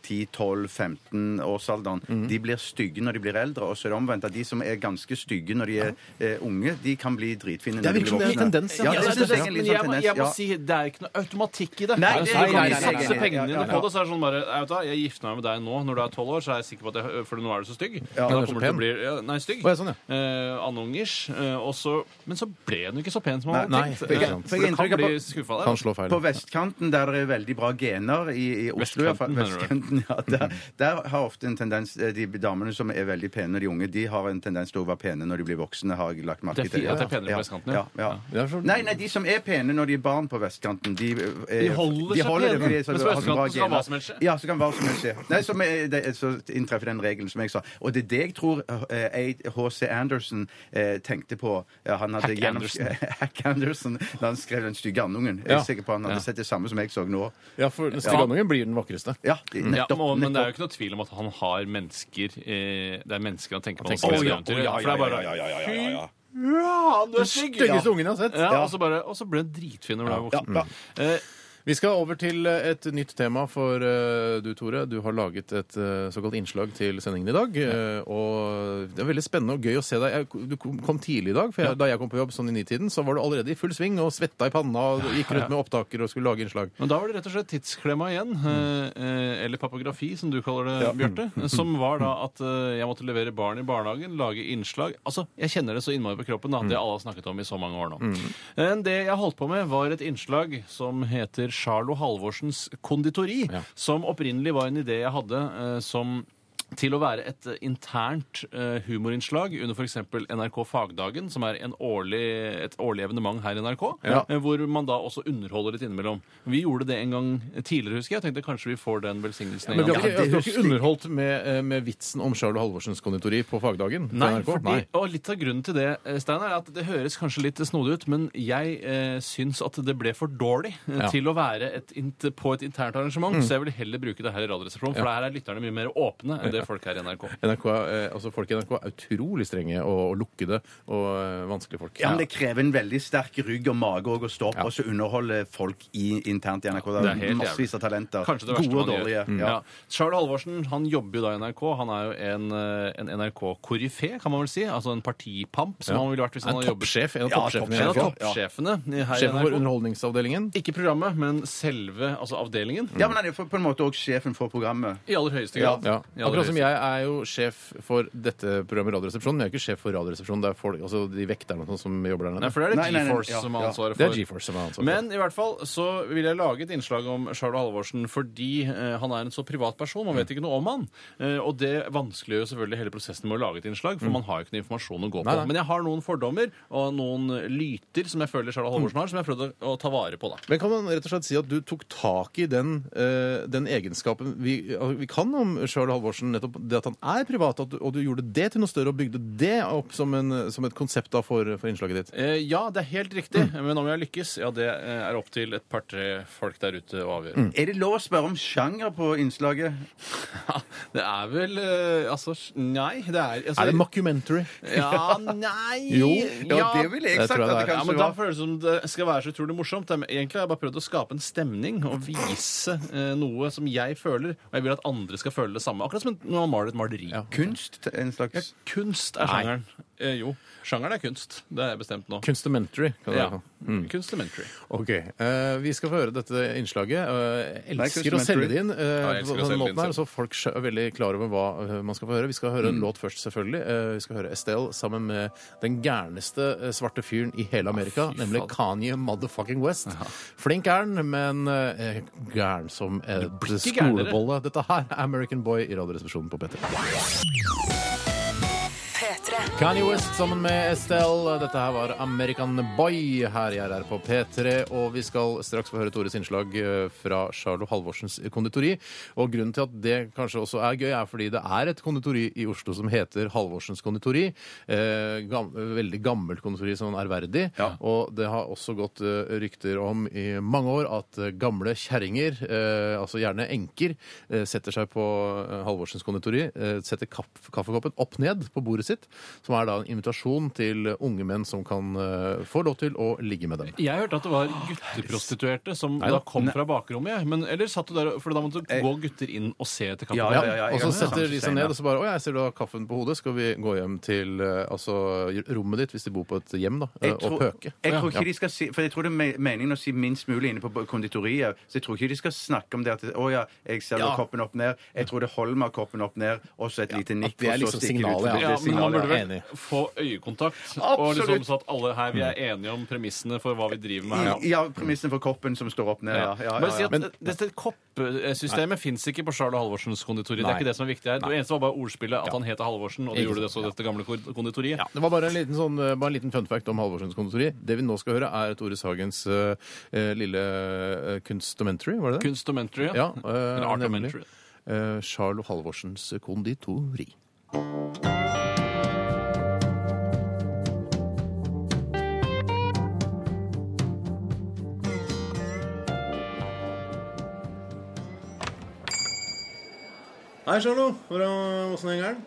E: 10-12-15 årsalderen, de blir stygge når de blir eldre, og så er det omvendt at de som er ganske stygge når de er eh, unge, de kan bli dritfine
C: Det er
E: når de
C: virkelig
E: blir
C: en
E: voksne.
C: tendens, ja.
E: ja.
D: Ja,
E: det
D: det
E: synes jeg er en
D: men
E: litt
D: jeg,
E: sånn
D: må-
E: tendens.
D: jeg må
E: ja.
D: si, det er ikke noe automatikk i det.
E: Nei,
D: det,
E: det-
D: er,
E: nei,
D: du
E: nei, nei,
D: kan satse
E: nei, nei,
D: pengene
E: ja,
D: dine
E: ja.
D: på det. Så er det sånn bare, jeg, vet hva, jeg gifter meg med deg nå når du er tolv år, så er jeg sikker på at jeg, for nå er du så stygg. Men da
C: du er så
D: kommer du til å bli ja, nei, stygg.
C: Å, ja, sånn,
D: Eh, Annungers. Eh, og så- men så ble den jo ikke så pen som man
C: Nei,
D: hadde tenkt.
C: nei, ikke
D: Eh,
C: sant.
D: for Du kan
E: Inntrykk av-
D: bli skuffa der.
C: Kan slå feil.
E: På vestkanten, der det er veldig bra gener i, i Oslo, i hvert fall,
D: Vestkanten, Mhm.
E: vestkanten, ja, der, der har ofte en tendens eh, De damene som er veldig pene når de er unge, de har en tendens til å være pene når de blir voksne, har jeg lagt merke
D: Det er fint
E: til.
D: at det er penere på vestkanten, ja.
E: ja, ja.
C: Det er så-
E: Nei, nei, de som er pene når de er barn på vestkanten, de, eh,
D: De holder seg
E: det,
D: pene.
E: fordi
D: Mens
E: så-
D: på
E: har så bra
D: østkanten så kan
E: gener.
D: hva som helst skje.
E: Ja, så kan hva som helst skje. Nei, så, med, det, så inntreffer den regelen som jeg sa. Og det er det jeg tror eh, H.C. Anderson eh, tenkte på. Ja, han hadde
D: Hack
E: gjennom-
D: Anderson.
E: [LAUGHS] Hack Anderson da han skrev Den stygge andungen. Jeg
C: Ja.
E: er sikker på han hadde sett det samme som jeg så nå.
C: Ja, for Stigandungen blir den vakreste.
E: Ja, det-
D: Ja,
E: nettopp.
D: men, men det er jo
E: nettopp.
D: ikke noe tvil om at han har mennesker eh, Det er mennesker han tenker på.
C: tenker på.
D: når
C: Å, ja,
D: han spiller eventyr,
E: ja,
D: for det er bare,
E: ja, ja, ja, ja, ja, ja.
D: Fy faen, du er stygg!
C: Styggeste ungen jeg har sett.
D: Ja, og, så bare, og så ble han dritfin når du er
E: Ja,
D: voksen.
E: ja.
D: Eh,
C: Vi skal over til eh, et nytt tema for eh, du, Tore. Du har laget et eh, såkalt innslag til sendingen i dag. eh, Og det er veldig spennende og gøy å se deg. Jeg, du kom kom tidlig i dag. for jeg, Da jeg kom på jobb sånn i nitiden, så var du allerede i full sving og svetta i panna og gikk rundt med opptaker og skulle lage innslag.
D: Men da var det rett og slett tidsklemma igjen, eh, eh, eller papografi, som du kaller det, Bjarte. Som var da at eh, jeg måtte levere barn i barnehagen, lage innslag. Altså, Jeg kjenner det så innmari på kroppen, da, det alle har snakket om i så mange år nå. Eh, Det jeg holdt på med, var et innslag som heter Charlo Halvorsens konditori. Som opprinnelig var en idé jeg hadde eh, som til å være et eh, internt eh, humorinnslag under f.eks. NRK Fagdagen, som er en årlig, et årlig evenement her i NRK,
C: Ja.
D: eh, hvor man da også underholder litt innimellom. Vi gjorde det en gang tidligere, husker jeg. Jeg tenkte kanskje vi får den velsignelsen en
C: Men du
D: gang.
C: har ikke,
E: det
C: altså, du har
E: husker
C: ikke underholdt med, eh, med vitsen om Charlo Halvorsens konditori på fagdagen? på
D: Nei,
C: NRK?
D: fordi,
C: Nei.
D: og litt av grunnen til det, eh, Steinar, er at det høres kanskje litt snodig ut, men jeg eh, syns at det ble for dårlig eh,
C: Ja. Mm.
D: til å være et, int- på et internt arrangement, så jeg vil heller bruke det her i Radioresepsjonen, for her er lytterne mye mer åpne enn det folk er i NRK.
C: NRK, er, eh, altså Folk i NRK er utrolig strenge og, og lukkede og eh, vanskelige folk.
E: Ja, men det krever en veldig sterk rygg og mage også å stå opp
C: Ja.
E: og så underholde folk i, internt i NRK. Det
D: Det
E: er,
D: er helt
E: massevis av talenter.
D: Kanskje det verste
E: Gode og
D: man
E: dårlige.
D: gjør. Mm.
E: Ja.
D: Ja. Charles Halvorsen han jobber jo da i NRK. Han er jo en, eh, en NRK-koryfé, kan man vel si. Altså en partipamp, som
C: Ja.
D: han ville vært hvis han
C: En
D: hadde jobbet
C: toppsjef. En av
E: Ja,
C: toppsjefene.
D: En
C: i
D: av
C: NRK.
D: toppsjefene i- her i
C: Sjefen for
D: NRK.
C: Underholdningsavdelingen.
D: Ikke programmet, men selve altså avdelingen.
E: ja, men han er på en måte også sjefen for programmet.
D: I aller høyeste grad.
C: Ja.
D: I aller
C: Akkurat sånn som jeg er jo sjef for dette programmet Radioresepsjonen. men Jeg er ikke sjef for Radioresepsjonen. Det er folk, altså de vekterne og sånn som jobber der
D: Nei,
C: nede.
D: for det er
E: Nei, nei,
D: det
E: nei,
D: GeForce
E: ja,
D: som har
E: ja.
D: ansvaret
C: Det er
D: for.
C: GeForce som har ansvaret.
D: Men i hvert fall så vil jeg lage et innslag om Charlo Halvorsen fordi eh, han er en så privat person. Man vet
C: Mm.
D: ikke noe om han. Eh, og det vanskeliggjør jo selvfølgelig hele prosessen med å lage et innslag, for man har jo ikke noe informasjon å gå på.
C: Mm. Nei, nei.
D: Men jeg har noen fordommer og noen lyter som jeg føler Charlo
C: Mm.
D: Halvorsen har, som jeg har prøvd å, å ta vare på, da.
C: Men kan man rett og slett si at du tok tak i den, eh, den egenskapen vi, altså, vi kan om Charles Halvorsen, nettopp det at han er privat, at du, og du gjorde det til noe større og bygde det opp som, en, som et konsept da for, for innslaget ditt?
D: Eh, ja, det er helt riktig, men om jeg lykkes, ja, det eh, er opp til et par-tre folk der ute å avgjøre.
E: Er det lov å spørre om sjanger på innslaget?
D: Ja, det er vel eh, Altså, nei. Det er altså,
C: Er det mockumentary?
D: Ja, nei
C: Jo,
E: Ja, det ville jeg
C: det
E: sagt.
C: tror jeg
E: at
C: det
E: det
C: er.
D: Ja,
E: kanskje
D: men Da
E: var.
D: føles det som det skal være så utrolig morsomt. Det er- Egentlig har jeg bare prøvd å skape en stemning og vise eh, noe som jeg føler, og jeg vil at andre skal føle det samme. Akkurat som når man maler et maleri.
E: Kunst? En slags
D: Kunst er sjangeren. Eh, jo, sjangeren er kunst. Det er bestemt nå.
C: Kunstmentary, kan det
D: Ja.
C: være.
D: Kunstelementary.
C: Ok, eh, Vi skal få høre dette innslaget. Eh, Jeg
E: Nei,
C: elsker å
E: Kunstmentary.
C: selge det inn. eh, på denne
D: jeg elsker å selge det inn
C: måten her, Så folk skjø- er veldig klar over hva eh, man skal få høre. Vi skal høre en
D: Mm.
C: låt først, selvfølgelig. Eh, Vi skal høre Estelle sammen med den gærneste eh, svarte fyren i hele Amerika,
D: fy
C: nemlig
D: faen.
C: Kanye motherfucking West. Flink er han, men eh, gæren som eh,
D: ikke gærnere.
C: skolebolle. Dette her er American Boy i Radioresepsjonen på P3.
B: P3.
C: Kanye West sammen med Estelle. Dette her var American Boy her i RR på P3. Og vi skal straks få høre Tores innslag eh, fra Charlo Halvorsens konditori. Og grunnen til at det kanskje også er gøy, er fordi det er et konditori i Oslo som heter Halvorsens konditori. Eh, gam, veldig gammelt konditori, sånn ærverdig.
E: Ja.
C: Og det har også gått eh, rykter om i mange år at eh, gamle kjerringer, eh, altså gjerne enker, eh, setter seg på eh, Halvorsens konditori, eh, setter kaff kaffekoppen opp ned på bordet sitt, som er da en invitasjon til unge menn som kan eh, få lov til å ligge med dem.
D: Jeg hørte at det var
E: Ah,
D: gutteprostituerte som da kom fra bakrommet. jeg. Men eller satt du der, for da måtte du gå gutter inn og se etter kaffen.
E: Eh, Ja, ja, ja, ja.
C: og så
E: jeg kan
C: setter de
E: kanskje
C: seg
E: si
C: ned
E: det.
C: og så bare Å, jeg ser du har kaffen på hodet. Skal vi gå hjem til eh, altså, rommet ditt, hvis de bor på et hjem, da, eh,
E: Jeg tror,
C: og pøke?
E: jeg tror
C: Ja.
E: ikke de skal si For jeg tror det er me- meningen å si minst mulig inne på b- konditoriet. Så jeg tror ikke de skal snakke om det at Å ja, jeg selger
C: Ja.
E: koppen opp ned. Jeg tror det holder med koppen opp ned, og så et lite
C: at
E: nikk.
C: det er
E: og så
C: liksom
E: stikker det ut,
C: signalet,
E: for
C: ja.
E: det er
D: Ja, men man
E: signalet,
D: burde
C: Enig.
D: vel få øyekontakt. Og
E: Absolutt.
D: liksom så at alle her, vi er enige om premissene for hva vi driver med her.
E: ja.
D: nå.
E: ja, premissen for koppen som står opp ned. Ja, ja,
D: Bare
E: ja,
D: si
E: ja.
D: at eh, Dette koppsystemet fins ikke på Charlo Halvorsens konditori. Det
C: Nei.
D: er ikke det som er viktig her. Det eneste var bare ordspillet at han heter Halvorsen, og det
C: Ikke
D: gjorde det
C: sant,
D: så dette gamle kor- konditoriet.
C: Ja, det var bare en liten, sånn, eh, bare en liten fun fact om Halvorsens konditori. Det vi nå skal høre, er Tore Sagens eh, eh, lille eh, kunstdomentary, var det det?
D: Kunstomentary.
C: ja,
D: Ja.
C: eh,
D: Eller
C: nemlig.
D: artomentary.
C: Eh, Charlo Halvorsens konditori. Hei, Charlo. Åssen henger den?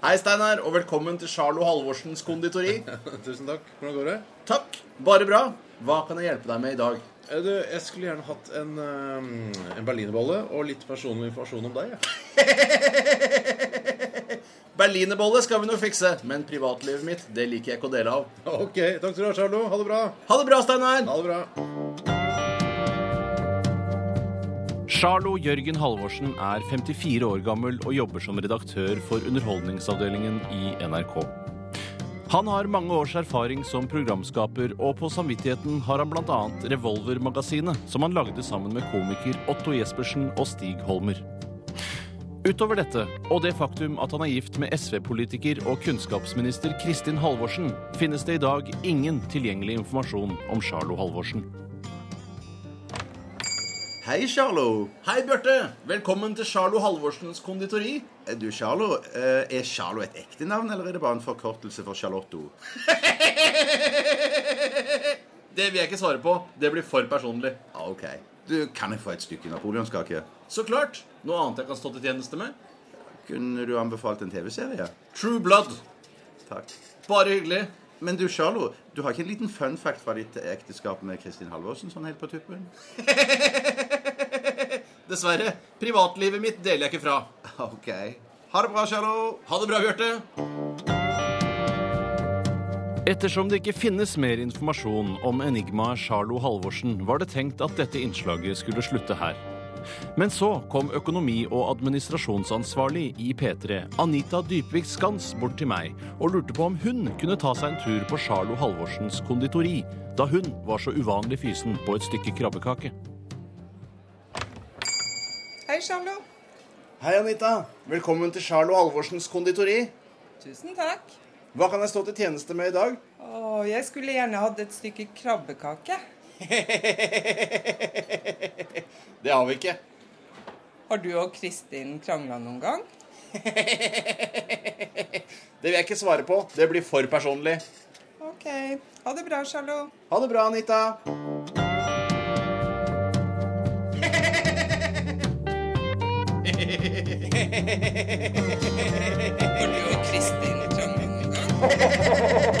A: Hei, Steinar, og velkommen til Charlo Halvorsens konditori.
C: Tusen takk. Hvordan går det?
A: Takk. Bare bra. Hva kan jeg hjelpe deg med i dag?
C: Eh, Du, jeg skulle gjerne hatt en, eh, en berlinerbolle og litt personlig informasjon om deg. jeg.
A: Berlinerbolle skal vi nå fikse, men privatlivet mitt det liker jeg ikke å dele av.
C: [LAUGHS] Ok, takk skal du ha, Charlo. Ha det bra.
A: Ha det bra, Steinar.
C: Ha det bra.
D: Charlo Jørgen Halvorsen er 54 år gammel og jobber som redaktør for Underholdningsavdelingen i NRK. Han har mange års erfaring som programskaper, og på samvittigheten har han bl.a. Revolvermagasinet, som han lagde sammen med komiker Otto Jespersen og Stig Holmer. Utover dette, og det faktum at han er gift med SV-politiker og kunnskapsminister Kristin Halvorsen, finnes det i dag ingen tilgjengelig informasjon om Charlo Halvorsen.
A: Hei, Charlo. Hei, Bjarte. Velkommen til Charlo Halvorsens konditori.
E: Eh, Du, Charlo, eh, er Charlo et ekte navn, eller er det bare en forkortelse for Charlotto?
A: Det vil jeg ikke svare på. Det blir for personlig.
E: Ah, OK. Du, kan jeg få et stykke napoleonskake?
A: Så klart. Noe annet jeg kan stå til tjeneste med?
E: Kunne du anbefalt en TV-serie?
A: True Blood.
E: Takk.
A: Bare hyggelig.
E: Men du, Charlo, du har ikke en liten fun fact fra ditt ekteskap med Kristin Halvorsen sånn helt på tuppen?
A: Dessverre. Privatlivet mitt deler jeg ikke fra.
E: OK. Ha det bra, Charlo.
A: Ha det bra, Bjarte.
D: Ettersom det ikke finnes mer informasjon om enigmaet Charlo Halvorsen, var det tenkt at dette innslaget skulle slutte her. Men så kom økonomi- og administrasjonsansvarlig i P3, Anita Dybvik Skans, bort til meg og lurte på om hun kunne ta seg en tur på Charlo Halvorsens konditori, da hun var så uvanlig fysen på et stykke krabbekake.
F: Hei, Charlo.
A: Hei, Anita. Velkommen til Charlo Halvorsens konditori.
F: Tusen takk.
A: Hva kan jeg stå til tjeneste med i dag?
F: Å, jeg skulle gjerne hatt et stykke krabbekake.
A: Det har vi ikke.
F: Har du og Kristin krangla noen gang?
A: Det vil jeg ikke svare på. Det blir for personlig.
F: OK. Ha det bra, Charlo.
A: Ha det bra, Anita.
F: Har du og Kristin krangla noen gang?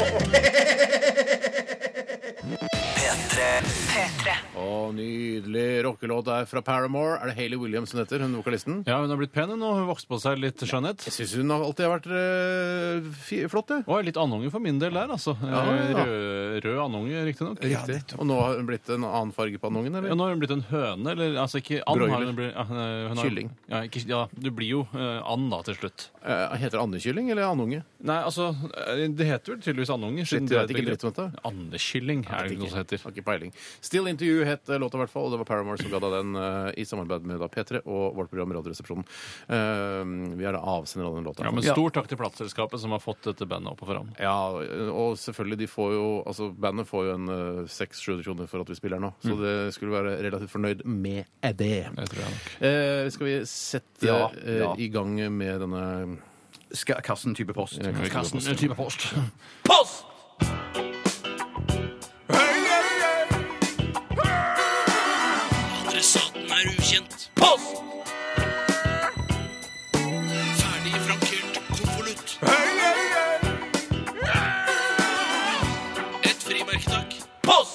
B: P3.
C: Og nydelig rockelåt der fra Paramore. Er det Hayley Williams hun heter, hun vokalisten?
D: Ja, hun har blitt pen hun, og hun vokste på seg litt, Jeanette.
C: Jeg syns hun har alltid har vært eh, fi- flott, jeg.
D: Og litt andunge for min del der, altså. Eh,
C: ja.
D: Rød, rød andunge, riktignok.
C: Riktig. Og nå har hun blitt en annen farge på andungen,
D: Ja,
C: eller?
D: nå har hun blitt en høne, eller altså ikke and.
C: Broiler.
D: Har hun blitt, ja, hun er- hun har-
C: Kylling.
D: Ja, ikke, ja, du blir jo eh, and da til slutt.
C: Eh, heter det andekylling eller andunge?
D: Nei, altså, eh, det heter vel tydeligvis andunger.
C: Shit,
D: det
C: jeg
D: er
C: vet ikke
D: et
C: dritt om dette.
D: begrep. Andekylling er det
C: Vet
D: ikke noe som heter.
C: Har ikke peiling. Still Interview het eh, låta, i hvert fall. Og det var Paramore som ga deg den eh, i samarbeid med da P3 og vårt program Radioresepsjonen. Eh, vi er da avsender av den låta.
D: Ja, men Stor takk til plateselskapet som har fått dette bandet opp og fram.
C: Ja, og selvfølgelig, de får jo altså bandet får jo en eh, 600-700 kroner for at vi spiller nå, så det skulle være relativt fornøyd med det.
D: Det tror jeg nok.
C: Eh, skal vi sette
E: Ja,
C: eh,
E: ja.
C: i gang med denne eh,
E: Ska- Karsten type post.
D: Karsten, en eh, type post. [LAUGHS]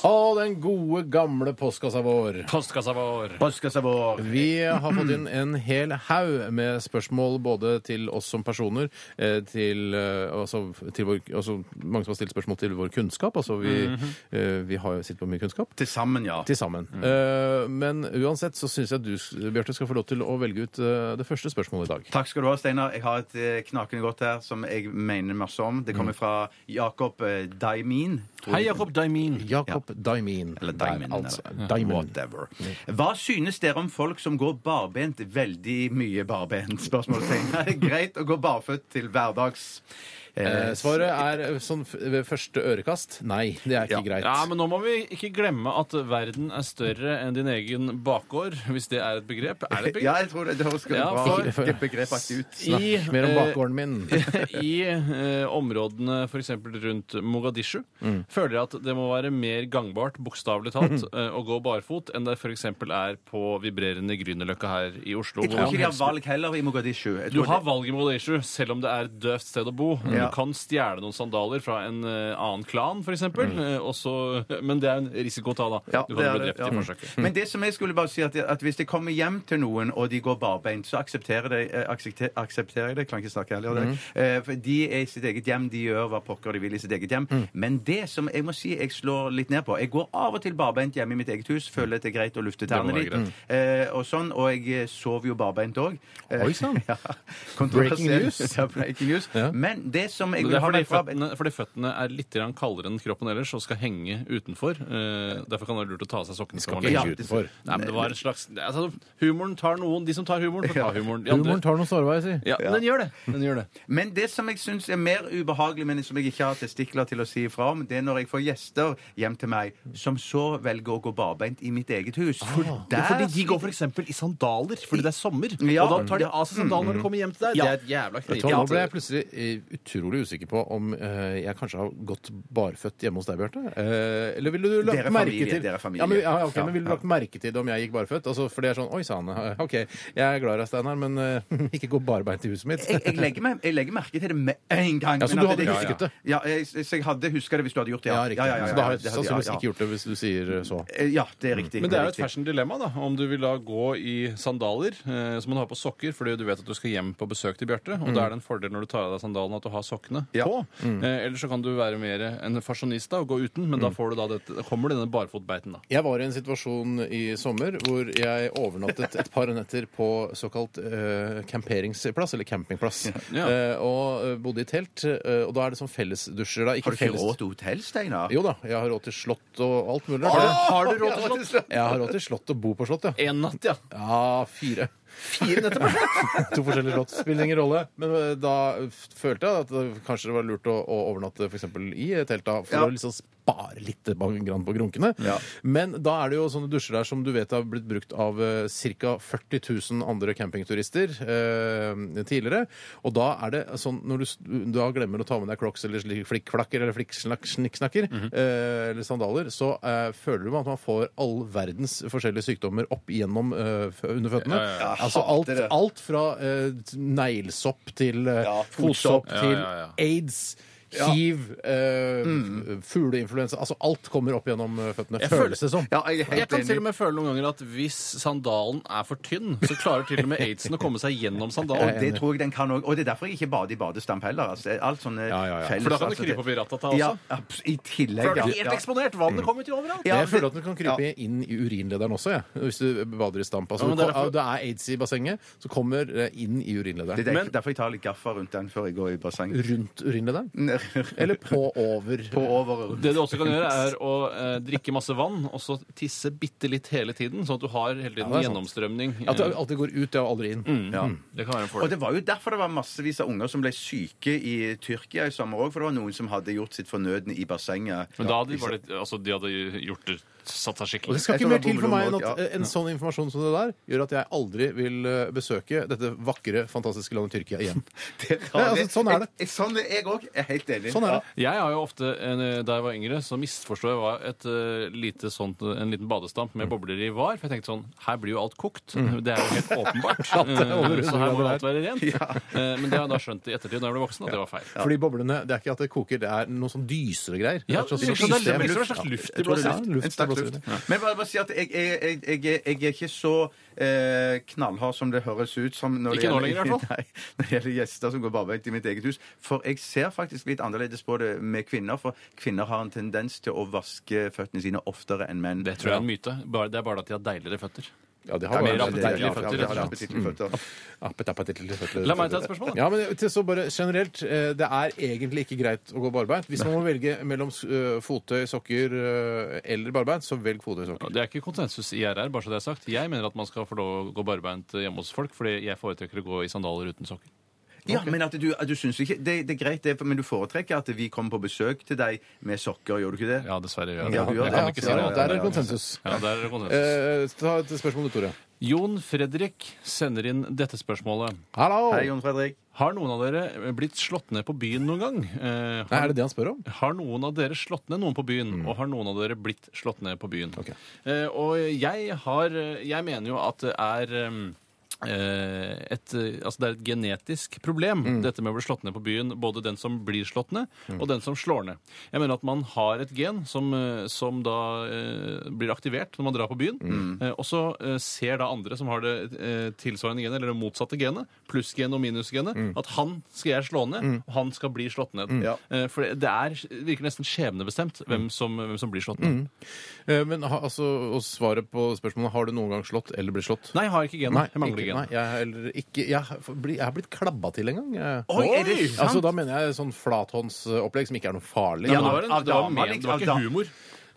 C: Å, den gode, gamle postkassa vår!
D: Postkassa vår.
E: Postkassa vår.
C: Vi har fått inn en hel haug med spørsmål både til oss som personer, eh, til, eh, altså, til vår, altså, mange som har stilt spørsmål til vår kunnskap. Altså, vi, eh, vi har jo sittet på mye kunnskap.
E: Til sammen, ja.
C: Til sammen. Eh, Men uansett så syns jeg du, Bjarte, skal få lov til å velge ut eh, det første spørsmålet i dag.
E: Takk skal du ha, Steinar. Jeg har et eh, knakende godt her som jeg mener masse om. Det kommer fra Jakob eh, Daimin.
D: Hei, Jakob Daimin.
C: Jakob Daimin.
E: Eller Diamond.
C: Der, altså.
E: eller
C: Diamond.
E: Whatever. Hva synes dere om folk som går barbent veldig mye barbent? Spørsmålstegn. Er det [LAUGHS] greit å gå barføtt til hverdags?
C: Eh, Svaret er eh, sånn f- ved første ørekast nei, det er ikke greit.
D: Ja, men nå må vi ikke glemme at verden er større enn din egen bakgård, hvis det er et begrep. Er det et begrep?
E: Ja, jeg tror det, det høres
D: Ja,
C: [LAUGHS]
E: bra
D: for-
E: Det begrepaktig ut.
D: I,
C: Snakk mer om
D: eh,
C: bakgården min.
D: I eh, områdene f.eks. rundt Mogadishu føler jeg at det må være mer gangbart, bokstavelig talt,
E: Mhm.
D: eh, å gå barfot enn det f.eks. er på vibrerende Grünerløkka her i Oslo.
E: Jeg tror
D: hvor
E: ikke de
D: man
E: har valg heller i Mogadishu. Jeg
D: Du
E: tror
D: har
E: det-
D: valg i Mogadishu, selv om det er et døvt sted å bo.
E: Ja.
D: Du kan stjele noen sandaler fra en eh, annen klan, f.eks., mm. [LAUGHS] men det er en risiko å ta, da.
E: Mhm. Ja,
D: du
E: det
D: kan
E: er
D: bli
E: det,
D: drept
E: ja.
D: i forsøket.
E: Men det som jeg skulle bare si at, at hvis jeg kommer hjem til noen og de går barbeint, så aksepterer, de, eh, aksepte- aksepterer jeg det. Kan ikke snakke heller. det.
D: Mm.
E: Eh, for de er i sitt eget hjem. De gjør hva pokker de vil i sitt eget hjem.
D: Mm.
E: Men det som jeg må si jeg slår litt ned på Jeg går av og til barbeint hjemme i mitt eget hus. Føler at det er greit å lufte
D: må
E: tærne
D: være
E: litt. Eh, og sånn. Og jeg eh, sover jo barbeint òg.
C: Oi,
D: sånn.
C: sann.
E: [LAUGHS] ja, kontroversielt.
C: Breaking news.
E: [LAUGHS] Ja, breaking news.
C: Ja.
E: Men Mm. det som jeg
D: Det
E: vil
D: er
E: ha
D: fordi
E: med fra
D: føttene, fordi føttene er litt grann kaldere enn kroppen ellers og skal henge utenfor. eh, Derfor kan det være lurt å ta av seg sokkene.
C: Skal ikke
D: som man legger
C: henge
D: ut.
C: utenfor.
D: Nei, men det var en slags altså, Humoren tar noen. De som tar humoren, får ta humoren. De andre-
C: Humoren tar noen sårveier, si.
D: ja, Den gjør det. Den gjør det.
E: Men det som jeg syns er mer ubehagelig, men som jeg ikke har testikler til å si ifra om, det er når jeg får gjester hjem til meg som så velger å gå barbeint i mitt eget hus. For
D: Ja, fordi de går f.eks. i sandaler fordi det er sommer.
E: Ja.
D: Og da tar de av seg sandalene når de kommer hjem til deg. Det er et jævla
C: Vet du hva, Nå ble jeg
D: knivete.
C: plutselig eh, utrolig usikker på om eh, jeg kanskje har gått barføtt hjemme hos deg, Bjarte. Eh, eller ville du lagt
E: Dere er
C: merke
E: familie,
C: til
E: dere er familie.
C: Ja, men, ja, ok,
E: Ja,
C: men ville du
E: ja.
C: lagt merke til det om jeg gikk barføtt? Altså, for det er sånn Oi sann, eh, [LAUGHS] OK, jeg er glad i deg, Steinar, men eh, [LAUGHS] ikke gå barbeint i huset mitt.
E: jeg, jeg, legger meg, jeg legger merke til det med en gang.
C: Ja, så du
E: men at
C: hadde
E: det-
C: husket det?
E: Ja, ja jeg, så jeg hadde huska det hvis du hadde gjort
C: [LAUGHS]
E: det.
C: Ja, riktig. så da har jeg
E: det hadde-
C: sannsynligvis
E: ja, ja.
C: ikke gjort det hvis du sier eh, så.
E: Ja, det er riktig.
D: Mm. Men det er jo et
E: riktig.
D: fashion dilemma, da. Om du vil da gå i sandaler, eh, så må du ha på sokker fordi du vet at du skal hjem på besøk til Bjarte. Og da er det en fordel når du tar av deg sandalene at du har sokkene
E: Ja.
D: på. Eh, eller så kan du være mer en fasjonista og gå uten, men da, får du da dette, kommer denne barfotbeiten, da.
C: Jeg var i en situasjon i sommer hvor jeg overnattet et par netter på såkalt eh, camperingsplass, eller campingplass,
D: Ja.
C: Eh, og eh, bodde i telt. eh, og da er det sånn fellesdusjer, da. Ikke
E: Har du ikke
C: felles-
E: råd til hotell, Steinar?
C: Jo da, jeg har råd til slott og alt mulig.
D: Har du,
C: rart.
D: har du råd til slott?
C: Jeg har råd til slott og bo på slott,
E: Eh.
C: ja.
D: En natt, ja.
C: Ja, fire.
E: Fire netter på
C: To forskjellige slott spiller ingen rolle. Men eh, da f- følte jeg at det kanskje det var lurt å, å overnatte f.eks. i telta for
E: Ja.
C: å liksom spare litt på- grann på grunkene.
E: Ja.
C: Men da er det jo sånne dusjer der som du vet har blitt brukt av eh, ca. 40 000 andre campingturister eh, tidligere. Og da er det sånn når du s- da glemmer å ta med deg crocs eller slik- flikkflakker eller flikksnakk- snikksnakker
E: Mhm.
C: eh, eller sandaler, så eh, føler du at man får all verdens forskjellige sykdommer opp igjennom eh, f- under føttene.
D: Ja, ja,
E: ja.
C: Altså alt,
E: Hater det.
C: alt fra eh, t- neglesopp til eh,
E: Ja,
C: fotsopp
E: fotsopp.
C: til
D: Ja, ja, ja.
C: aids. Hiv, eh,
E: Mm.
C: f- fugleinfluensa Altså alt kommer opp gjennom eh, føttene.
D: Jeg føler-
C: Føles det som.
E: Ja, jeg er
D: Jeg
E: helt
D: kan til og
E: enig.
D: med føle noen ganger at hvis sandalen er for tynn, så klarer til og med aidsen å komme seg gjennom sandalen.
E: Det tror jeg den kan òg. Og det er derfor jeg ikke bader i badestamp heller. Altså. Alt sånne
C: Ja, ja, ja.
E: felles-
D: For da kan du
E: altså,
D: krype opp i ratata
E: Ja,
D: også.
E: abs- i tillegg.
D: For da er
E: ja.
D: du helt
E: Ja.
D: eksponert. Vannet kommer til overalt.
E: Ja,
C: jeg føler at
E: det-
C: du kan krype inn i urinlederen også, jeg, hvis du bader i stamp. Altså,
D: Ja, men
C: du
D: det er
C: kom-
D: derfor-
C: det er aids i bassenget, så kommer det inn i
E: Det er
C: urinlederen.
E: derfor-
D: Men-
E: derfor jeg tar litt gaffa rundt den før jeg går i
C: [LAUGHS]
E: basseng.
C: Rundt urinlederen? Eller på over?
E: På over
D: Det du også kan gjøre, er å eh, drikke masse vann og så tisse bitte litt hele tiden, sånn at du har hele
C: Ja,
D: tiden
C: det er sant.
D: gjennomstrømning. Eh,
C: At det alltid går ut, ja, og aldri inn.
E: Ja.
D: Det kan være en
E: Og
D: fordel.
E: det var jo derfor det var massevis av unger som ble syke i Tyrkia i sommer òg, for det var noen som hadde gjort sitt fornødne i bassenget.
D: Men da hadde de, bare, altså, de hadde gjort det, satt seg
C: Og
D: skikkelig.
C: det skal ikke
E: Jeg tror
C: mer
E: det var
C: til for meg enn at
E: bomberom også,
C: eh, en sånn informasjon som det der gjør at jeg aldri vil eh, besøke dette vakre, fantastiske landet Tyrkia igjen.
E: [LAUGHS]
C: Nei, altså, sånn er det.
E: Jeg- Sånn er jeg òg. Jeg er helt enig.
C: Sånn er det.
D: Jeg har jo ofte, eh, Da jeg var yngre, så misforstod jeg hva et eh, lite sånt, en liten badestamp med bobler i var. For jeg tenkte sånn Her blir jo alt kokt. Det er jo helt åpenbart.
C: Mm. [LAUGHS] det er over
D: Eh, så her må jo
C: hundre
D: alt være rent. Eh, Men det har jeg da skjønt i ettertid, da jeg ble voksen, at det var feil.
C: Fordi boblene, det er ikke at det koker, det er noe sånn dysere greier.
D: Ja,
C: et slags
D: det virker som
C: system.
D: det er luft. Det er en slags luft
C: Ja, jeg tror det er
D: i
C: luft.
E: En
C: Luft i
E: sterk
C: blåsen.
E: luft. Men bare, bare si at jeg, jeg, jeg, jeg, jeg er ikke så eh, knallhard som det høres ut som når
D: Ikke nå
E: det
D: lenger, i
E: [LAUGHS]
D: hvert
E: Nei, når det gjelder gjester som går barbeint i mitt eget hus. For jeg ser faktisk litt annerledes på det med kvinner, for kvinner har en tendens til å vaske føttene sine oftere enn menn.
D: Det tror jeg er en myte. Bare, det er bare at de har deiligere føtter.
C: Ja, de
E: Ja,
C: har
D: mer
C: bare
E: det-
D: appetittlige
E: ja, ja,
D: føtter, rett
E: det er
D: og slett. Mm.
E: appetittlige føtter.
C: Appet, appet, appet, appet,
D: La meg ta et spørsmål, da.
C: Ja, men til så bare generelt, eh, det er egentlig ikke greit å gå barbeint. Hvis man må velge mellom eh, fottøy, sokker eh, eller barbeint, så velg fottøy, sokker.
D: Det er ikke konsensus i RR, bare så det er sagt. Jeg mener at man skal få lov å gå barbeint hjemme hos folk, fordi jeg foretrekker å gå i sandaler uten sokker.
E: Ja, men at du, at du synes ikke det, det er greit, det, men du foretrekker at vi kommer på besøk til deg med sokker, gjør du ikke det?
D: Ja, dessverre gjør jeg det.
E: Ja, du gjør
D: jeg
E: det.
D: kan
E: Ja,
D: ikke
E: ja,
D: si
E: ja,
D: noe
E: ja.
D: annet.
C: Der er det konsensus.
D: Ja, der er det konsensus.
C: Eh, ta et spørsmål, Tore.
D: Jon Fredrik sender inn dette spørsmålet.
C: Hallo!
E: Hei, Jon Fredrik.
D: Har noen av dere blitt slått ned på byen noen gang?
C: Nei, er
D: Eh, har,
C: det det han spør om?
D: har noen av dere slått ned noen på byen? Og har noen av dere blitt slått ned på byen?
C: Ok.
D: Eh, og jeg har eh, Jeg mener jo at det er eh, et, eh, altså det er et genetisk problem, dette med å bli slått ned på byen. Både den som blir slått ned, og den som slår ned. Jeg mener at man har et gen som, eh, som da eh, blir aktivert når man drar på byen.
C: Mm.
D: Eh, og så eh, ser da andre som har det eh, tilsvarende genet, eller det motsatte genet, plussgenet og minusgenet,
C: Mm.
D: at han skal jeg slå ned, og han skal bli slått ned.
E: Ja.
D: Eh, for det er, virker nesten skjebnebestemt
C: Mm.
D: hvem som, hvem som blir slått ned.
C: Eh, Men ha- altså, og svaret på spørsmålet har du noen gang slått eller blitt slått?
D: Nei, jeg har ikke genet. Jeg mangler
C: ikke,
D: genet.
C: nei, jeg, har heller ikke, jeg, har bli- jeg har blitt klabba til en gang. jeg.
E: Oi, er det sant?
C: Altså, da mener jeg sånn flathåndsopplegg som ikke er noe farlig.
D: Ja, men det var, en,
E: av
D: det var,
E: dama,
D: men-
E: liksom,
D: det var
E: av
D: ikke
E: da-
D: humor.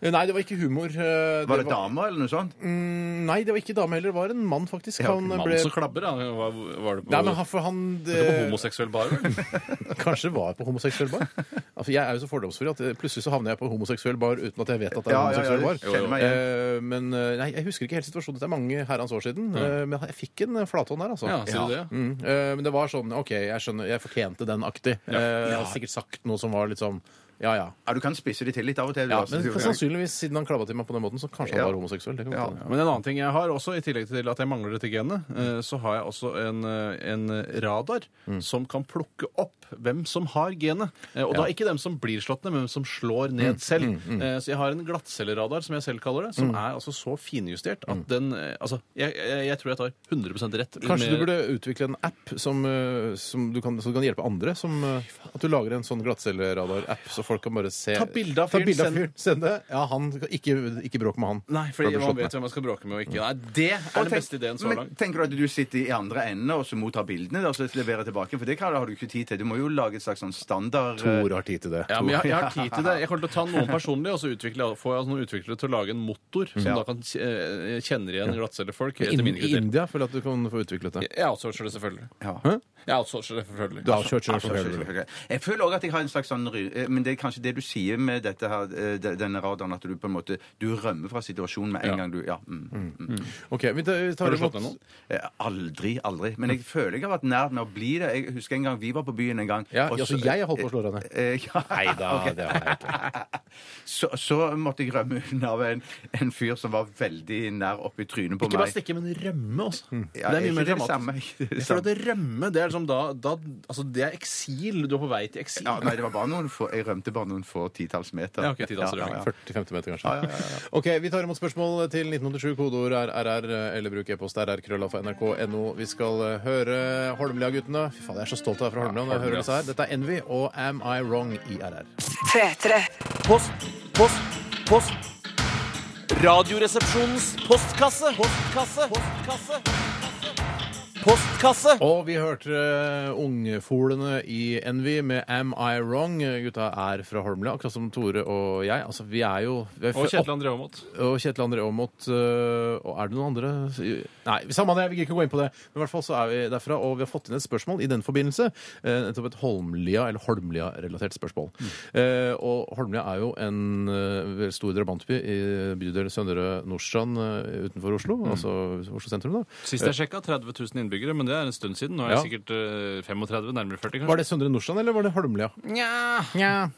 C: Nei, det var ikke humor. eh,
E: Var det damer eller noe sånt?
C: Nei, det var ikke dame heller. Det var en mann, faktisk.
E: Ja,
C: Han
D: Mannen
C: ble...
D: som klabber, da. Hva var det på,
C: Nei, men han, for han
D: var det på
C: eh,
D: homoseksuell bar?
C: [LAUGHS]
D: vel?
C: kanskje var på homoseksuell bar. Altså, jeg er jo så fordomsfri at eh, plutselig så havner jeg på homoseksuell bar uten at jeg vet at det er
E: Ja, ja, ja,
C: homoseksuell bar.
E: kjenner meg
C: Eh, men eh, nei, jeg husker ikke helt situasjonen. Det er mange herrens år siden. eh, men jeg fikk en eh, flathånd der, altså.
D: Ja, sier du det?
C: Mm, eh, men det var sånn OK, jeg skjønner, jeg fortjente den aktig. Eh, jeg har sikkert sagt noe som var litt sånn Ja, ja.
E: Ja, du kan spisse det til litt av og til. du,
C: ja
E: altså.
C: men
D: sånn
C: for sannsynligvis, siden han klabba til meg på den måten, så kanskje han
E: Ja.
C: var homoseksuell. Det kan
E: Ja.
C: godt hende.
D: Men en annen ting jeg har også, i tillegg til at jeg mangler dette genet,
C: Mm.
D: eh, så har jeg også en, eh, en radar
C: Mm.
D: som kan plukke opp hvem som har genet. Eh, Og da ikke dem som blir slått ned, men hvem som slår
C: Mm.
D: ned selv. Eh, Så jeg har en glattcelleradar, som jeg selv kaller det, som er altså så finjustert
C: Mm.
D: at den eh, Altså, jeg, jeg, jeg tror jeg tar 100 rett.
C: Kanskje
D: med-
C: du burde utvikle en app som, eh, som, du, kan, som kan hjelpe andre? Som, eh, at du lager en sånn glattcelleradar-app, så folk kan bare se
D: Ta bilde av
C: Ta
D: fyren,
C: bilde av
D: send-
C: fyren, send det. Ja, han, ikke, ikke bråk med han.
D: Nei,
C: For da blir
D: fordi man
C: slått
D: vet
C: ned. Mm.
D: hvem man skal bråke med og ikke. Nei, det er
E: Og
D: den
E: tenk-
D: beste ideen så
E: men
D: langt.
E: Tenker du at du sitter i andre enden og så mottar bildene og så leverer tilbake? For det kan, har du ikke tid til. Du må jo lage et slags sånn standard eh,
C: Tor har tid til det.
D: Ja, men jeg, jeg har tid til det. Jeg kommer til å ta noen personlig, og så utvikle, får jeg altså noen utviklere til å lage en motor som da kan eh, kjenne igjen glattcellefolk. etter
C: Inn-
D: mine
C: I
D: kriterier.
C: India føler jeg at du kan få utviklet det.
D: Jeg outsourcer det selvfølgelig.
E: eh, Ja.
D: Jeg outsourcer det selvfølgelig.
C: Du har kjørt selv,
E: Altså,
C: selvfølgelig.
E: selvfølgelig. Jeg føler òg at jeg har en slags sånn ry- eh, Men det er kanskje det du sier med dette her, eh, de- denne radaren, at du på en måte Du rømmer fra situasjonen med en
D: Ja.
E: gang du Ja. Mm.
C: Ok, vi tar, vi tar
D: Har du
C: imot-
D: slått ned noen?
E: Eh, Aldri, aldri. Men jeg føler jeg har vært nær med å bli det. Jeg husker en gang vi var på byen en gang.
C: Ja,
E: og
C: altså
E: så-
C: jeg har holdt på å slå deg ned.
E: Eh, [LAUGHS] ja. Ok.
C: det har jeg ikke.
E: så, så måtte jeg rømme unna av en, en fyr som var veldig nær oppi trynet på meg.
D: stikke, men rømme også.
E: Ja,
D: det er mye
E: ikke
D: mer
E: det samme.
D: dramatisk.
E: Ikke det
D: Jeg
E: samme.
D: føler at rømme, det er liksom da, da Altså, det er eksil. Du er på vei til eksil.
E: Ja, nei, det var bare noen få, jeg rømte bare noen få titalls meter.
D: Ja, ok, titalls rømming.
C: 40-50 meter, kanskje. Ok, Vi tar imot spørsmål til 1987. Kodeord er RR, eller bruk e-post rrkrøllalfa.nrk.no. Vi skal eh, høre Holmlia-guttene. Fy faen, jeg er så stolt av å være fra Holmlia når jeg hører disse her. Dette er Envy og Am I Wrong i RR.
B: P3.
G: Post, post, post. Radioresepsjonens postkasse. Postkasse. Postkasse. Postkasse.
C: Og vi hørte eh, ungfolene i Envy med Am I Wrong. Gutta er fra Holmlia, akkurat som Tore og jeg. Altså, vi er jo vi er
D: Og
C: født-
D: Kjetil André Aamodt.
C: Og Kjetil André Aamodt. øh, Og er det noen andre Nei, samme det. Vi gidder ikke gå inn på det. Men i hvert fall så er vi derfra, og vi har fått inn et spørsmål i den forbindelse. eh, Nettopp et Holmlia- eller Holmlia-relatert spørsmål.
D: Mm.
C: Eh, Og Holmlia er jo en eh, vel stor drabantby i bydel Søndre Nordstrand eh, utenfor Oslo.
D: Mm.
C: Altså Oslo sentrum, da.
D: Sist jeg sjekka, 30 000 innbyggere, men det er en stund siden. Nå er
C: Ja.
D: jeg sikkert eh, 35, nærmere 40, kanskje.
C: Var det Søndre Nordstrand, eller var det Holmlia?
D: Nja.
C: Ja.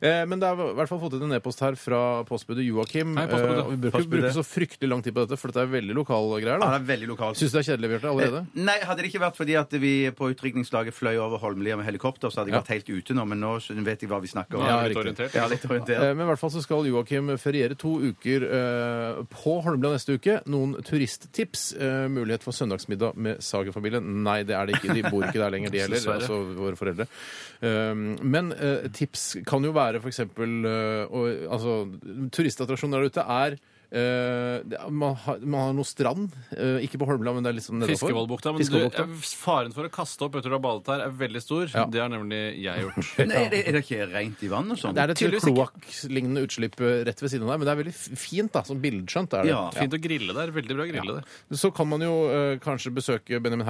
C: Eh, men det er i hvert fall fått inn en e-post her fra postbudet Joakim.
D: Hei, postbudet.
C: Eh, og vi bør ikke
E: Postbudet.
C: bruke så fryktelig lang tid på dette, for dette er veldig lokale greier.
E: Han
C: da.
E: er veldig lokal.
C: Syns du det er kjedelig, Bjarte? Allerede?
E: Nei, hadde det ikke vært fordi at vi på utrykningslaget fløy over Holmlia med helikopter, så hadde jeg
C: Ja.
E: vært helt ute nå, men nå vet jeg hva vi snakker om.
D: Nå er jeg
C: Ja,
D: litt
C: riktig.
D: orientert.
E: Jeg er litt
C: Eh,
E: orientert.
C: Men i hvert fall så skal Joakim feriere to uker eh, på Holmlia neste uke. Noen turisttips? Eh, mulighet for søndagsmiddag med Sager-familien? Nei, det er det ikke. De bor ikke der
D: [LAUGHS]
C: lenger, de heller.
D: Dessverre.
C: Altså våre foreldre. Um, men eh, tips kan jo være f.eks. Uh, altså, turistattraksjoner der ute er eh, det- man, har, man har noe strand, eh, ikke på Holmlia, men det er litt sånn nedenfor.
D: Fiskevålbukta. Men du,
C: Fiskevollbukta.
D: eh, faren for å kaste opp etter du har badet her, er veldig stor.
C: Ja.
D: Det har nemlig jeg [LAUGHS] gjort.
E: Nei, er det, er det ikke rent i vann og sånn?
C: Det er et
D: Tydeligvis ikke.
C: kloakklignende utslipp eh, rett ved siden av der, men det er veldig f- fint, da. Sånn bildskjønt er det.
E: Ja.
D: Fint å grille der. Veldig bra å grille der.
C: Så kan man jo eh, kanskje besøke Benjamin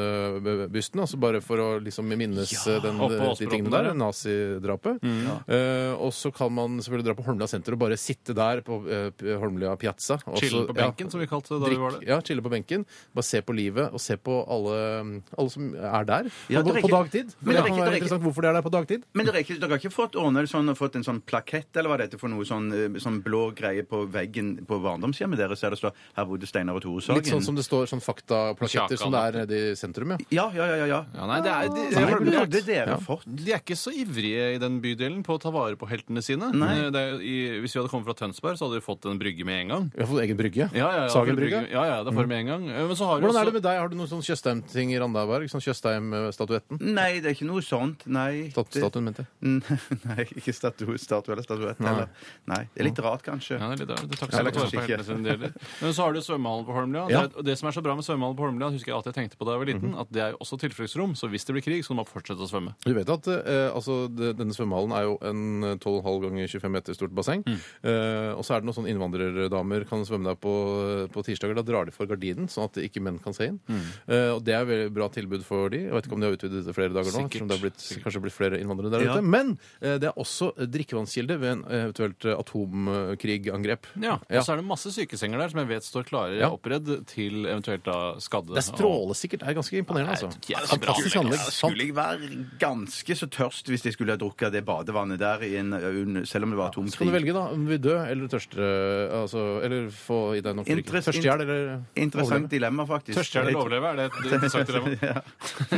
C: Hermansen-bysten, altså bare for å liksom minnes eh, den,
D: oppe på
C: de
D: Åsbråten
C: tingene
D: der,
C: der,
D: ja. Mm.
C: nazidrapet. Eh, og så kan man selvfølgelig dra på Holmlia senter og bare sitte der på eh, p- Holmlia Piazza. og så-
D: Chillen på benken,
C: ja,
D: som vi kalte det da vi var
C: drikk-
D: der.
C: Ja, chille på benken. Bare se på livet, og se på alle, alle som er der.
E: Ja,
C: på,
E: det er
C: på
E: ikke-
C: dagtid. For det kan
E: Men det er ikke- det
C: være
E: er ikke-
C: interessant hvorfor de er der på dagtid.
E: Men dere, er ikke, dere har ikke fått ordnet sånn, fått en sånn plakett eller hva er dette for noe sånn, eh, sånn blå greie på veggen på barndomshjemmet deres, der det står 'Her bodde Steinar og Tore Sagen'?
C: Litt sånn som det står sånn faktaplaketter som det er nede i sentrum, ja.
E: Ja, ja, ja. ja, ja.
D: Ja, nei, det er, de,
E: Det
D: Holmlia-
E: hadde dere
C: Ja.
E: fått.
D: de er ikke så ivrige i den bydelen på å ta vare på heltene sine. Eh,
E: Nei.
D: Det er, i, hvis vi hadde kommet fra Tønsberg, så hadde vi fått en brygge med en gang.
C: Vi har fått egen brygge.
D: Ja, ja, ja,
C: Sagen
D: for
C: brygge.
D: Ja, ja, det får vi med en gang. Eh, Men så har vi
C: Hvordan er
D: også-
C: det med deg? Har du noen sånn Tjøstheim-ting i Randaberg? Sånn Tjøstheim-statuetten?
E: Nei, det er ikke noe sånt. Nei.
C: Stat-
E: Det-
C: Statuen, mente jeg.
E: Mm, [LAUGHS] Nei, ikke statue, statue eller statuett. Nei. Nei. Det er litt rart, kanskje.
D: Ja, det er litt rart. Det tar ikke
E: Ja,
D: så lett å
E: kanskje
D: være på
E: ikke.
D: heltene sine det gjelder. Men så har du svømmehallen på
C: Ja.
D: Holmlia. Det, er- og det som er så bra med svømmehallen på Holmlia, husker jeg at jeg tenkte på da jeg var liten, at det er jo også tilfluktsrom, så hvis det blir krig, så kan man fortsette å svømme.
C: Du vet at eh, altså,
D: Mm.
C: det- denne svømmehallen er jo en eh, 12,5 ganger 25 meter stort basseng. Eh, og så er det noe sånn innvandrer... bartenderdamer kan svømme der på, eh, på tirsdager. Da drar de for gardinen, sånn at ikke menn kan se inn.
D: Mm.
C: Eh, og Det er et veldig bra tilbud for de. Jeg vet ikke om de har utvidet det flere dager nå.
D: Sikkert.
C: ettersom Det har blitt, kanskje blitt flere innvandrere der
D: Ja.
C: ute. Men eh, det er også drikkevannskilde ved en eh, eventuelt atomkrigangrep.
D: Ja, og så er det masse sykesenger der som jeg vet står klare
C: Ja.
D: oppredd til eventuelt da skadde.
C: Det er strålesikkert. Det er ganske imponerende,
D: Nei,
C: altså.
D: det er ikke bra.
C: Fantastisk
E: Ja,
C: anlegg.
E: skulle jeg være ganske så tørst hvis jeg skulle ha drukket det badevannet der, i en, un- selv om det var tom
C: Så kan du velge, da. Om du vil dø eller tørste altså, Eller få i deg noe
E: Interess-
C: Tørstehjel eller
E: Interessant dilemma, faktisk.
D: Tørste eller overleve, er det et
E: [LAUGHS]
D: interessant dilemma?
E: Ja.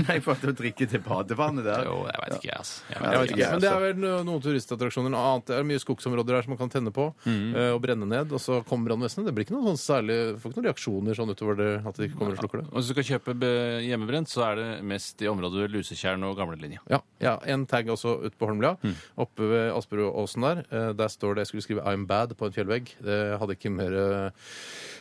E: Nei, for at å drikke det badevannet der.
D: Jo, jeg vet ikke, jeg, altså. Jeg
C: Jeg
D: vet
C: vet
D: ikke.
C: ikke, men Det er vel no- noen turistattraksjoner. Noe annet. Det er mye skogsområder her som man kan tenne på
D: Mm.
C: eh, og brenne ned. Og så kommer brannvesenet. Det blir ikke noen sånn særlig, får ikke noen reaksjoner sånn utover det at de ikke kommer og slukker det.
D: Og Hvis du skal kjøpe be- hjemmebrent, så er det mest i området ved Lusetjern og Gamlelinja.
C: Ja, ja, En tag også ute på Holmlia,
D: Mm.
C: oppe ved Asperudåsen der. Eh, Der står det jeg skulle skrive 'I'm bad' på en fjellvegg. Det hadde ikke mer eh,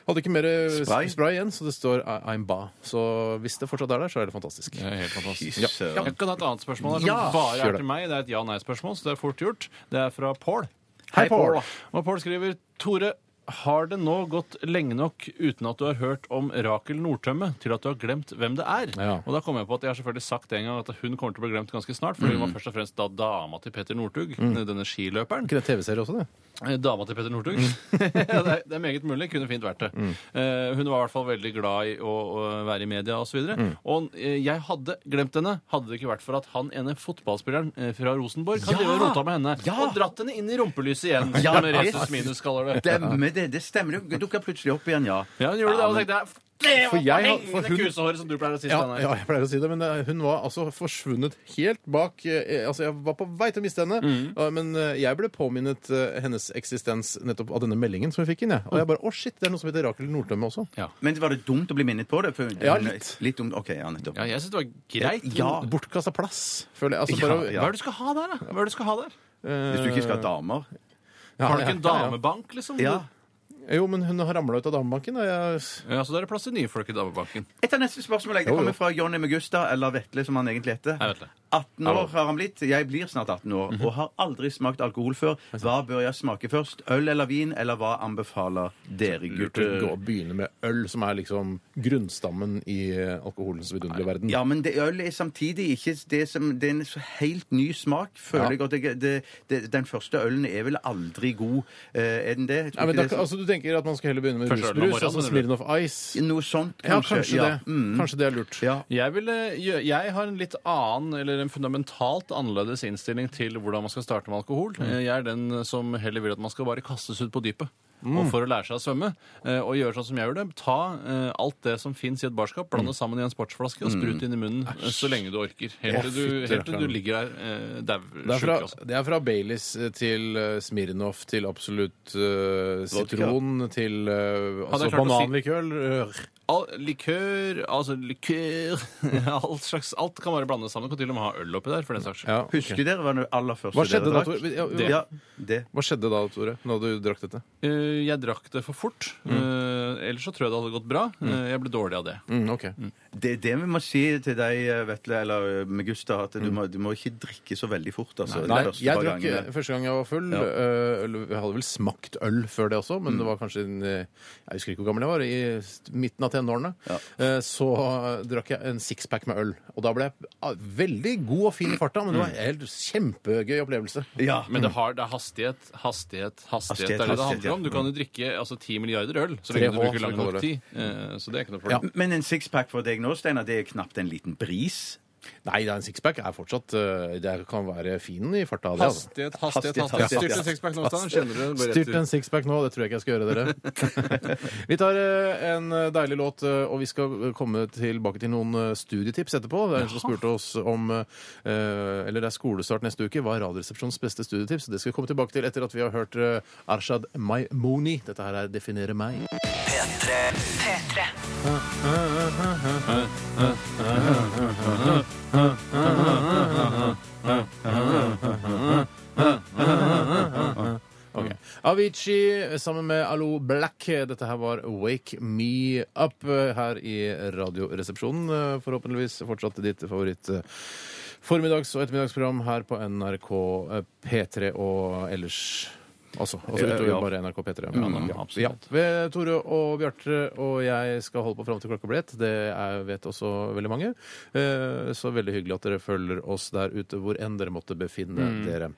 C: hadde ikke mer
E: Spray?
C: spray. igjen, så det står I- 'I'm ba'. Så hvis det fortsatt er der, så er det fantastisk.
D: Det er helt fantastisk.
E: Fy søren.
D: Jeg kan ha et annet spørsmål her, som
C: Ja,
D: bare
C: kjør
D: er
C: det.
D: til meg. Det er et ja-nei-spørsmål, så det er fort gjort. Det er fra Paul.
E: Hei, Paul.
D: Og Paul skriver Tore, har det nå gått lenge nok uten at du har hørt om Rakel Nordtømme til at du har glemt hvem det er?
C: Ja.
D: Og da kom jeg på at jeg har selvfølgelig sagt en gang at hun kommer til å bli glemt ganske snart, for hun
C: Mm.
D: var først og fremst da dama til Petter Northug, denne skiløperen.
C: Ikke det TV-serie også, det?
D: Eh, Dama til Petter Northug. [LAUGHS] Ja, det, er- det er meget mulig. Kunne fint vært det. Eh, hun var i hvert fall veldig glad i å, å være i media osv. Og, så videre. og eh, jeg hadde glemt henne, hadde det ikke vært for at han ene fotballspilleren eh, fra Rosenborg hadde ja! rota med henne og dratt henne inn i rumpelyset igjen. som Resus Minus kaller det.
E: Stemmer det. Det stemmer. Det dukka plutselig opp igjen, ja.
D: Ja, hun gjorde det, og
E: men-
D: tenkte jeg, det var
C: For jeg har- for
D: hengende
C: hun-
D: kusehåret som du pleier å si.
C: Ja,
D: Steinar.
C: ja, jeg pleier å si det, men eh, hun var altså forsvunnet helt bak eh, Altså, jeg var på vei til å miste henne, eh, men eh, jeg ble påminnet eh, hennes eksistens nettopp av denne meldingen som vi fikk inn, jeg. Og jeg bare Å, shit, det er noe som heter Rakel Nordtømme også.
E: Men var det dumt å bli minnet på det? For,
C: Ja, litt.
E: litt dumt. OK, ja, nettopp.
D: Ja, jeg syns det var greit.
E: Ja.
C: Bortkasta plass, føler jeg. Altså, bare,
E: ja.
D: Hva er det du skal ha der, da? Hva er det du skal ha der?
E: Hvis du ikke skal ha damer.
C: Ja,
D: Har du
C: ja,
D: ikke en
C: ja, ja.
D: damebank, liksom?
E: Ja.
C: Jo, men hun har ramla ut av damebanken, og jeg
D: Ja, Så da er det plass til nye folk i damebanken.
E: Etter neste spørsmål jeg.
C: Jo,
E: Det
C: jo.
E: kommer fra Johnny Megusta, eller Vetle, som han egentlig heter.
D: Hei, Vetle.
E: 18 år har han blitt. Jeg blir snart 18 år
C: Mhm.
E: og har aldri smakt alkohol før. Hva bør jeg smake først? Øl eller vin, eller hva anbefaler dere
C: burde gå
E: gutter?
C: og begynne med øl, som er liksom grunnstammen i eh, alkoholens vidunderlige verden.
E: Ja, men det øl er samtidig ikke det som Det er en så helt ny smak, føler
C: Ja.
E: jeg. at jeg- det, det, Den første ølen er vel aldri god, eh, er den det? Jeg tror
C: Nei, men
E: ikke
C: da,
E: det er så-
C: altså, du tenker at man skal heller begynne med
D: Første øl om
C: rusbrus,
D: morgenen,
C: altså
D: mener du?
C: Smirnoff Ice?
E: Noe sånt,
C: Ja,
E: kanskje.
C: kanskje det.
E: Mm.
C: Kanskje det er lurt.
E: Ja.
D: Jeg, ville gjø- jeg har en litt annen, eller en fundamentalt annerledes innstilling til hvordan man skal starte med alkohol.
C: Mm.
D: Eh, Jeg er den som heller vil at man skal bare kastes ut på dypet.
C: Mm.
D: Og for å lære seg å svømme, eh, og gjøre sånn som jeg gjør det, ta eh, alt det som fins i et
C: Mm.
D: barskap, blande det sammen i en sportsflaske og sprut inn i munnen eh, så lenge du orker. Helt til du,
C: fytti
D: helt til du
C: rakkeren.
D: ligger der eh,
C: Det
D: dauer
C: er,
D: sjuk.
C: fra,
D: Altså.
C: det er fra Baileys til eh, Smirnoff til absolutt eh, sitron til eh, altså
D: jeg klart å si-
C: bananlikøl. eh,
D: All, likør, altså likør [LAUGHS] Alt slags Alt kan bare blandes sammen. Du kan til og med ha øl oppi der, for den saks skyld.
C: Ja.
E: Husker dere hva det aller første
C: Hva skjedde da,
E: dere
C: Tore?
E: drakk?
C: Ja, ja.
E: Det. Ja, det.
C: Hva skjedde da, Tore, når du drakk dette?
D: Eh, jeg drakk det for fort. Eh, ellers så tror jeg det hadde gått bra. Eh, jeg ble dårlig av det.
C: Mm, ok.
E: Det er det vi må si til deg, Vetle, eller eh, Megusta, at
D: Mm.
E: du, må, du må ikke drikke så veldig fort. Altså, de
C: Nei,
E: første
C: jeg
E: par
C: drakk eh,
E: gangene.
C: første gang jeg var full. eh, øl- jeg hadde vel smakt øl før det også, men det var kanskje en, eh, Jeg husker ikke hvor gammel jeg var. I s- midten av tenårene. Eh, så eh, drakk jeg en sixpack med øl. Og da ble jeg ah, veldig god og fin i farta, men det var en helt kjempegøy opplevelse.
E: Ja.
D: Men
C: Mm.
D: det, har, det er hastighet, hastighet, hastighet.
E: Hastighet,
D: det er det det
E: hastighet,
D: handler om. Du kan jo
C: Mm.
D: drikke altså, 10 milliarder øl så lenge
C: 3H,
D: du bruker
C: som
D: lang
C: vi
D: nok
C: kaller
D: tid. Eh, Så det er ikke noe problem.
E: Mm. Men en sixpack for deg nå, Steinar, det er knapt en liten bris.
C: Nei, det er en sixpack er fortsatt eh, Det kan være fin i farta. Det, altså.
D: Hastighet, hastighet, hastighet.
E: Hastighet,
D: Styrt
E: hastighet, ja.
D: en sixpack nå, Steiner. Kjenner du den? Bare
C: Styrt
D: rett ut.
C: en sixpack nå, det tror jeg ikke jeg skal gjøre
D: [LAUGHS]
C: dere. vi tar eh, en deilig låt, eh, og vi skal eh, komme tilbake til noen eh, studietips etterpå. Det er en som spurte oss om eh, Eller det er skolestart neste uke. Hva er Radioresepsjonens beste studietips? Det skal vi komme tilbake til etter at vi har hørt eh, Arshad Maimouni. Dette her er 'Definere meg'.
B: P3.
C: Ok. Avicii sammen med Allo Black. Dette her var Wake Me Up eh, her i Radioresepsjonen. Eh, Forhåpentligvis fortsatt ditt favoritt eh, formiddags- og ettermiddagsprogram her på NRK eh, P3 og ellers også. Også utover
E: ja.
C: bare NRK P3.
D: Ja, da,
C: Mm,
D: absolutt.
C: ja. Ved Tore og Bjarte og jeg skal holde på fram til klokka blir ett. Det er, vet også veldig mange. Eh, Så veldig hyggelig at dere følger oss der ute hvor enn dere måtte befinne dere.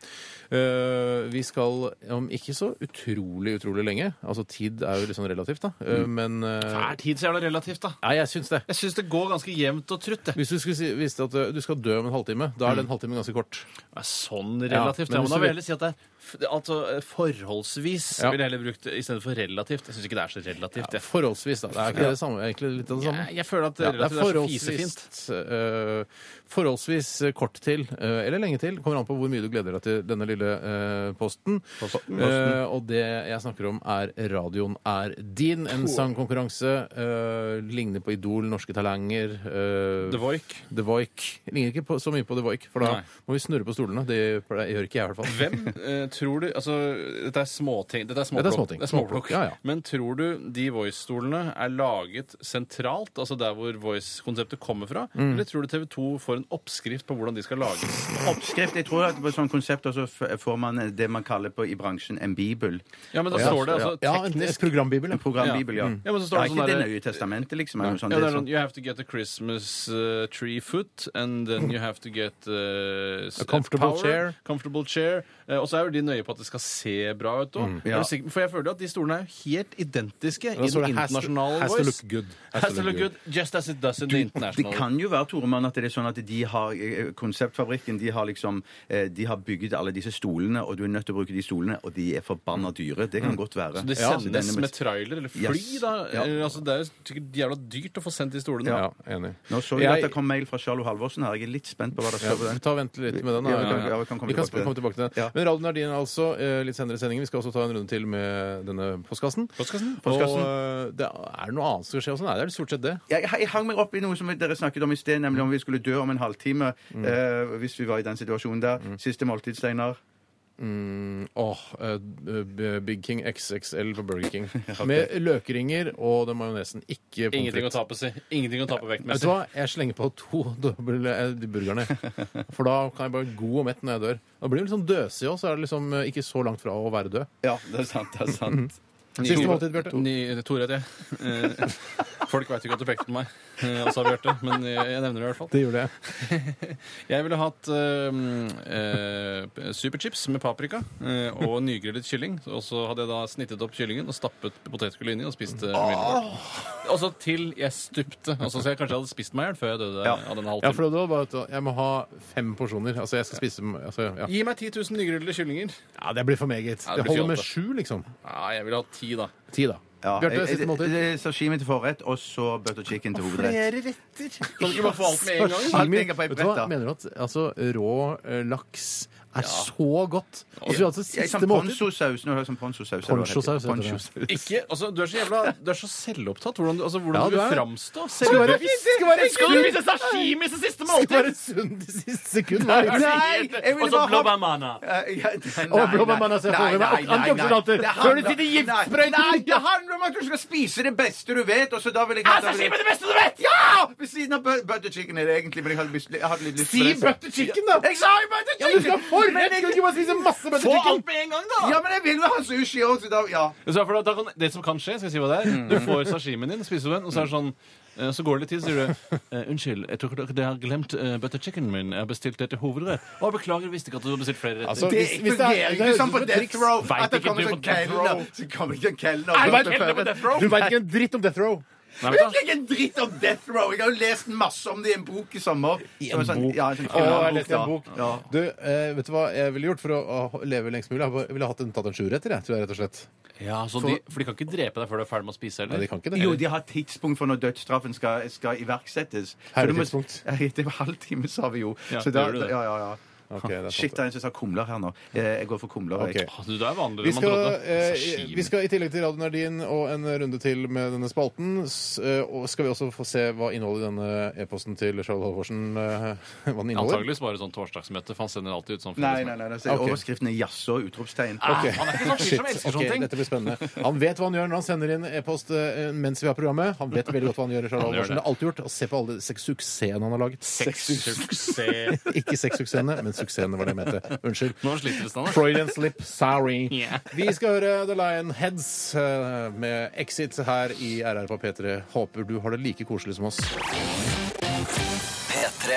C: Eh, Vi skal om ikke så utrolig, utrolig lenge Altså tid er jo litt sånn relativt, da. Eh, Men eh,
D: Er tid så jævla relativt, da?
C: Nei, jeg syns det.
D: Jeg syns det går ganske jevnt og trutt. det.
C: Hvis du skulle si, visste at eh, du skal dø om en halvtime, da er den halvtimen ganske kort.
D: Det er Sånn
C: Ja,
D: relativt.
C: men
D: Ja,
C: hvis
D: men da
C: du
D: vil
C: vil-
D: jeg heller si at det er f- det- altså, eh, forholdsvis
C: Ja.
D: ville jeg heller brukt i stedet for relativt. Jeg syns ikke det er så relativt. jeg.
C: Forholdsvis, da. Det er ikke det samme, egentlig litt av det samme.
D: Jeg, jeg føler
C: Ja,
D: at
C: det er
D: relativt er så
C: forholdsvis,
D: fisefint.
C: eh, forholdsvis kort til, eh, eller lenge til, kommer an på hvor mye du gleder deg til denne lille eh, posten. Eh, og det jeg snakker om er Radioen er din, en sangkonkurranse. eh, ligner på Idol, Norske Talanger. eh,
D: The Voik.
C: The Voik. Ligner ikke på, så mye på The Voik, for da
D: Nei.
C: må vi snurre på stolene. Det gjør gjør ikke jeg, i hvert fall.
D: Hvem eh, tror du Altså, dette er småting. Dette er småplukk.
C: Dette er småting. Småplukk, ja, ja.
D: Men tror du de Voice-stolene er laget sentralt, altså der hvor Voice-konseptet kommer fra?
C: Mm.
D: Eller tror du TV 2 får en oppskrift på hvordan de skal lages?
E: Oppskrift. Jeg tror at på sånn konsept også f- får man eh, det man kaller på i bransjen en bibel.
D: Ja, men da står det altså
C: ja, en,
D: teknisk
C: et programbibel.
E: En
C: Ja.
E: programbibel, ja.
D: Ja, men så står det
E: det er
D: sånn
E: ikke
D: der-
E: Det nøye testamentet, liksom. Er jo
D: ja,
E: sånn, det
D: det
E: er
D: er
E: sånn,
D: sånn, You have to get a Christmas uh, tree foot, and then you have to get uh, s-
C: A comfortable
D: power,
C: chair.
D: Comfortable chair. Eh, og så er jo de nøye på at det skal se bra ut òg.
E: Ja.
D: For jeg føler jo at de stolene er helt identiske i
C: står
D: den
C: det has to-
D: internasjonale
C: has to
D: Voice.
C: look good.
D: Has, to look good. Just as it does in the
E: Det
D: international.
E: kan jo være Toremann, at det er sånn at de har eh, konseptfabrikken de har liksom, eh, de har bygget alle disse stolene, og du er nødt til å bruke de stolene, og de er forbanna dyre. Det kan godt være.
D: Så de
E: Ja,
D: sendes
E: denne-
D: med trailer eller fly,
E: Yes.
D: da.
E: Ja.
D: Eh, Altså, det er jo sikkert jævla dyrt å få sendt de stolene.
C: Ja, enig.
E: Nå så jeg at det kom mail fra Charlo Halvorsen her. Jeg er litt spent på hva det
C: Ja,
E: står på den.
C: ta og Vente litt med den. da.
E: Ja, vi kan- ja, vi kan komme tilbake til
C: komme
E: den.
C: tilbake til den.
E: Ja.
C: Men radioen er din, altså. eh, Litt senere i sendingen. Vi skal også ta en runde til med denne postkassen.
D: Postkassen?
C: Og eh, det er det noe annet som skal skje også? Nei, det er stort sett det.
E: Jeg, jeg hang meg opp i noe som dere snakket om i sted, nemlig om vi skulle dø om en halvtime. eh, hvis vi var i den situasjonen der. Siste måltid, Steinar.
C: Åh, eh, b- Big King XXL på Burger
E: [LAUGHS]
C: King. Med løkringer og den majonesen. Ikke pommes
D: Ingenting å
C: frites.
D: tape seg. Ingenting å tape
C: Vet
D: vektmessig.
C: du hva? Jeg slenger på to [LAUGHS] doble eh, de burgerne. For da kan jeg bare god og mett når jeg dør. Da blir det litt sånn døsig òg, så er det liksom eh, ikke så langt fra å være død.
E: Ja, det er sant. det er sant.
C: Siste måltid, Bjarte.
D: Ny- eh, Tore heter jeg. Eh, Folk veit jo ikke at du pekte på meg, eh, og sa Bjarte, men jeg jeg nevner det i hvert fall.
C: Det gjorde jeg.
D: Jeg ville hatt eh, eh, superchips med paprika eh, og nygrillet kylling. Og så hadde jeg da snittet opp kyllingen og stappet potetgullet inni og spist det. umiddelbart. Og så til jeg stupte. Altså, så jeg kanskje hadde spist meg i hjel før jeg døde av denne
C: Ja,
D: halvtimen.
C: for det var bare at jeg må ha fem porsjoner. Altså, jeg skal spise altså, ja.
D: Gi meg 10 000 nygrillede kyllinger.
C: Ja, det blir for meget.
D: Ja, det
C: det
D: blir
C: holder med
D: fjollete.
C: sju, liksom.
D: Nei, jeg ville hatt ti, da.
C: Ti, da.
E: Ja,
C: Bjarte,
E: jeg-
C: siste
E: jeg-
C: måltid.
E: det er Sashimi til forrett, og så butter chicken til hovedrett.
D: Kan du ikke bare få alt med en gang?
E: Alt
C: Sashimi.
E: henger på
C: Vet
E: et
C: du
E: brett,
C: hva?
E: da.
C: Mener du at altså, rå eh, laks er så godt? Og så altså,
E: Jeg er sånn
C: siste måltid
E: ponchosaus. Nå hører jeg sånn ponchosaus. eller hva det
C: Ponchosaus
E: heter.
C: heter
E: Ponchosaus.
C: det.
D: Ikke, altså, du er så jævla Du er så selvopptatt. Hvordan du, altså, hvordan
C: Ja, du er
D: du vil
C: det.
D: framstå.
C: Skal være,
D: Selvbevisst.
C: skal være,
D: Skal du spise sashimi til siste
C: skal være sunn til siste sekund? Hva er det?
E: Nei, jeg ville bare ha
D: blåbærmanna.
E: Eh, ja, [LAUGHS] nei,
C: Å,
E: nei,
C: blåbærmann, jeg ser for
E: nei,
C: meg
E: nei, nei, nei.
C: antioksidanter.
E: Det
C: Før du
E: handler-
C: sitter i giftsprøyten.
E: Nei, nei, det handler om at du skal spise det beste du vet, og så da vil jeg ha
D: det beste du vet!
E: Ja! Ved siden av bu- butter chicken er det egentlig, men jeg hadde, lyst- jeg hadde litt lyst
C: Si
E: til det.
C: butter chicken, da!
E: Jeg sa jo butter
C: Ja, men du
E: chicken!
C: skal ha forrett! Du kan ikke bare spise masse butter chicken.
D: med en gang, da!
E: Ja, men jeg vil jo ha sushi òg, så da Ja.
D: Så for da, da kan, sånn- det som kan skje, skal jeg si hva det er Du får sashimien din, spiser du den, og så er det sånn eh, så går det litt tid, så sier du eh, 'Unnskyld, jeg tror dere har glemt eh, butter chickenen min. Jeg har bestilt det til hovedrett.' 'Å, beklager, visste ikke at du hadde bestilt flere retter.'
C: Altså,
E: Det
C: hvis- hvis det er-
E: fungerer
C: det
E: ikke
C: er-
E: sånn på
C: det er
E: Death
C: triks.
E: Row
D: Vet
E: at det
D: ikke du
E: kommer sånn
D: på Death Row?
E: kelner Så kommer ikke en kelner
C: Du
E: og
C: vet-
E: prøver det.
C: Du veit ikke en dritt om Death Row.
D: Nei, vet
E: Jeg vet
D: du hva?
E: ikke en dritt om Death Row! Jeg har jo lest masse om det i en bok i sommer. I en sånn,
C: bok?
E: Ja, en sånn
C: Å, jeg har
E: kriminalbok,
C: lest en
E: da.
C: bok.
E: Ja.
C: Du, eh, vet du hva jeg ville gjort for å, å leve lengst mulig? Jeg bare- ville hatt en, tatt en sjuretter, jeg, tror jeg, rett og slett.
D: Ja, så de, for de kan ikke drepe deg før du er ferdig med å spise,
C: Nei,
D: heller?
C: de kan ikke det.
E: Jo, de har tidspunkt for når dødsstraffen skal, skal iverksettes.
C: Her er
E: Så du må-
C: tidspunkt.
E: [LAUGHS] Ja, Det var halvtime, sa vi jo.
D: Ja,
E: Så da,
D: gjør du det?
E: ja, ja, ja.
C: Ok, det er sant,
E: Shit, det
C: det.
E: er en som sa kumler her nå. Eh, Jeg går for kumler.
C: Ok.
E: jeg.
D: Å, Ah, Du, du er vanligere
C: Vi
D: enn man
C: skal,
D: trodde.
C: eh,
D: Sashimi.
C: vi skal i tillegg til Radio Nardin og en runde til med denne spalten, s- eh, og skal vi også få se hva innholdet i denne e-posten til Charles Halvorsen eh, [LAUGHS] hva den inneholder?
D: Antakeligvis bare sånn torsdagsmøte, for han sender alltid ut sånn
E: Nei, nei, nei. nei. så
C: Ok.
E: Overskriften er jaså og utropstegn.
C: Ok.
D: Han er ikke sånn fyr som elsker sånne
C: Ok,
D: ting.
C: Dette blir spennende. Han vet hva han gjør når han sender inn e-post eh, mens vi har programmet. Han vet veldig godt hva han gjør. Charles
D: Han gjør
C: Halvorsen. Det
D: det.
C: er alltid gjort. Og se på alle de seks suksessene han har laget.
D: Sex, suksess.
C: Ikke seks suksessene, men suksessen, var det jeg mente. Unnskyld.
D: Nå sliter
C: sånn,
D: det, Steinar.
C: Freudian slip, sorry.
D: Ja.
C: Vi skal høre The Lionheads eh, med Exit her i RR på P3. Håper du har det like koselig som oss.
B: P3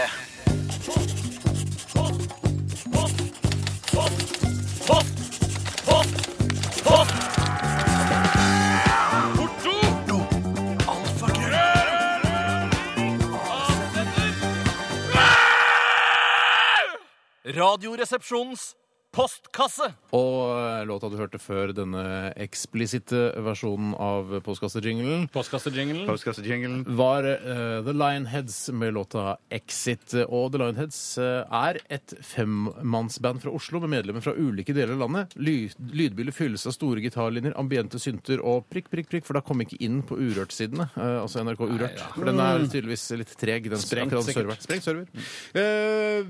G: Radioresepsjonens postkasse.
C: Og eh, låta du hørte før denne eksplisitte versjonen av postkassejinglen,
E: Ah.
D: Postkassejinglen.
E: Postkassejinglen.
C: var eh, The Lionheads med låta 'Exit'. Og The Lionheads eh, er et femmannsband fra Oslo med medlemmer fra ulike deler av landet. Ly lydbildet fylles av store gitarlinjer, ambiente synter og prikk, prikk, prikk, for da kom vi ikke inn på Urørt-sidene. eh, altså NRK Urørt. For den er tydeligvis litt treg. Den
D: Sprengt,
C: akkurat den
D: sikkert.
C: serveren. Sprengt server.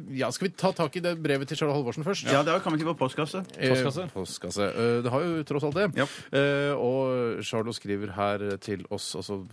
C: Eh, ja, skal vi ta tak i det brevet til Charlotte Halvorsen først?
E: Ja, det har jo kommet inn på postkasse.
C: Postkasse. Eh, postkasse. Eh, Det har jo tross alt det.
E: Ja.
C: Eh, Og Charlo skriver her til oss, altså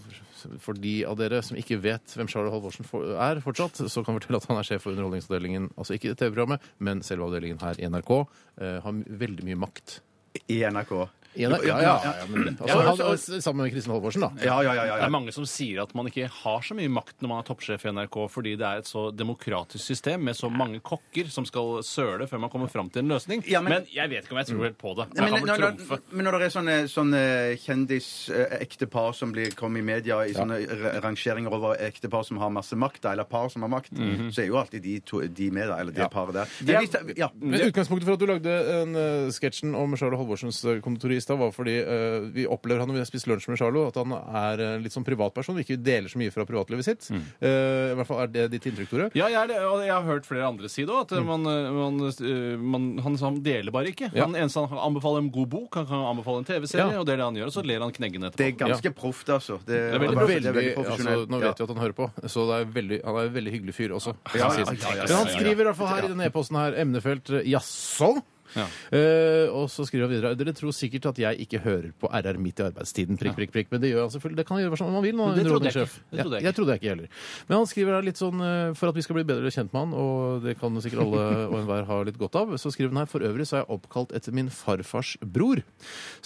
C: for de av dere som ikke vet hvem Charlo Halvorsen for- er fortsatt, så kan vi fortelle at han er sjef for Underholdningsavdelingen, altså ikke TV-programmet, men selve avdelingen her i NRK. Eh, Har veldig mye makt.
E: I NRK.
C: Ja, ja, ja, ja, men, altså, han, sammen med Kristin Halvorsen, da.
E: Ja, ja, ja. ja,
D: Det
E: ja.
D: er mange som sier at man ikke har så mye makt når man er toppsjef i NRK, fordi det er et så demokratisk system med så mange kokker som skal søle før man kommer fram til en løsning.
E: Ja,
D: men,
E: men-
D: jeg vet ikke om jeg tror helt på det.
E: Nei,
D: Jeg
E: men,
D: kan vel
E: når,
D: trumfe.
E: men når det er sånne, sånne kjendisektepar som blir, kommer i media i sånne ra- rangeringer over ektepar som har masse makt, da, eller par som har makt,
C: Mhm.
E: så er jo alltid de, to, de med, da, eller det paret der. Men vi tar- ja.
D: Mm.
C: Men Utgangspunktet for at du lagde en eh, sketsjen om Charlo Halvorsens eh, konditori i stad, var fordi eh, vi opplever han når vi har spist lunsj med Charlo, at han er eh, litt sånn privatperson. Vi ikke deler så mye fra privatlivet sitt.
D: Mm.
C: Eh, I hvert fall er det ditt inntrykk, Tore.
D: Ja, jeg, er det, og jeg har hørt flere andre si det òg, at eh, man, man, øh, man, han, han deler bare ikke.
C: Ja.
D: Han eneste han kan anbefale en god bok, han kan anbefale en TV-serie,
C: Ja.
D: og det er det han gjør. Og så ler han kneggende
E: Det
D: etterpå.
E: er ganske proft, altså. Det, det
D: er veldig
E: det
D: proft.
E: er veldig
C: altså,
E: profesjonelt.
C: nå vet vi at han hører på, så det er veldig, han er en veldig hyggelig fyr også. kan
E: ja,
C: sies.
E: ja, ja, ja,
C: Men han
D: ja, ja.
C: skriver i hvert fall her i denne e-posten her emnefelt eh, jaså.
D: Ja.
C: Eh, og så skriver han videre Dere tror sikkert at jeg ikke hører på RR midt i arbeidstiden. Prikk, prikk, prikk Men det gjør han selvfølgelig. Det kan han gjøre som man vil. Nå,
D: Men det trodde jeg
C: underholdningssjef.
D: ikke. Det trodde jeg
C: Ja, jeg trodde jeg ikke heller. Men han skriver her litt sånn eh, for at vi skal bli bedre kjent med han, og det kan sikkert alle og enhver ha litt godt av. Så skriver han her for øvrig så er jeg oppkalt etter min farfars bror,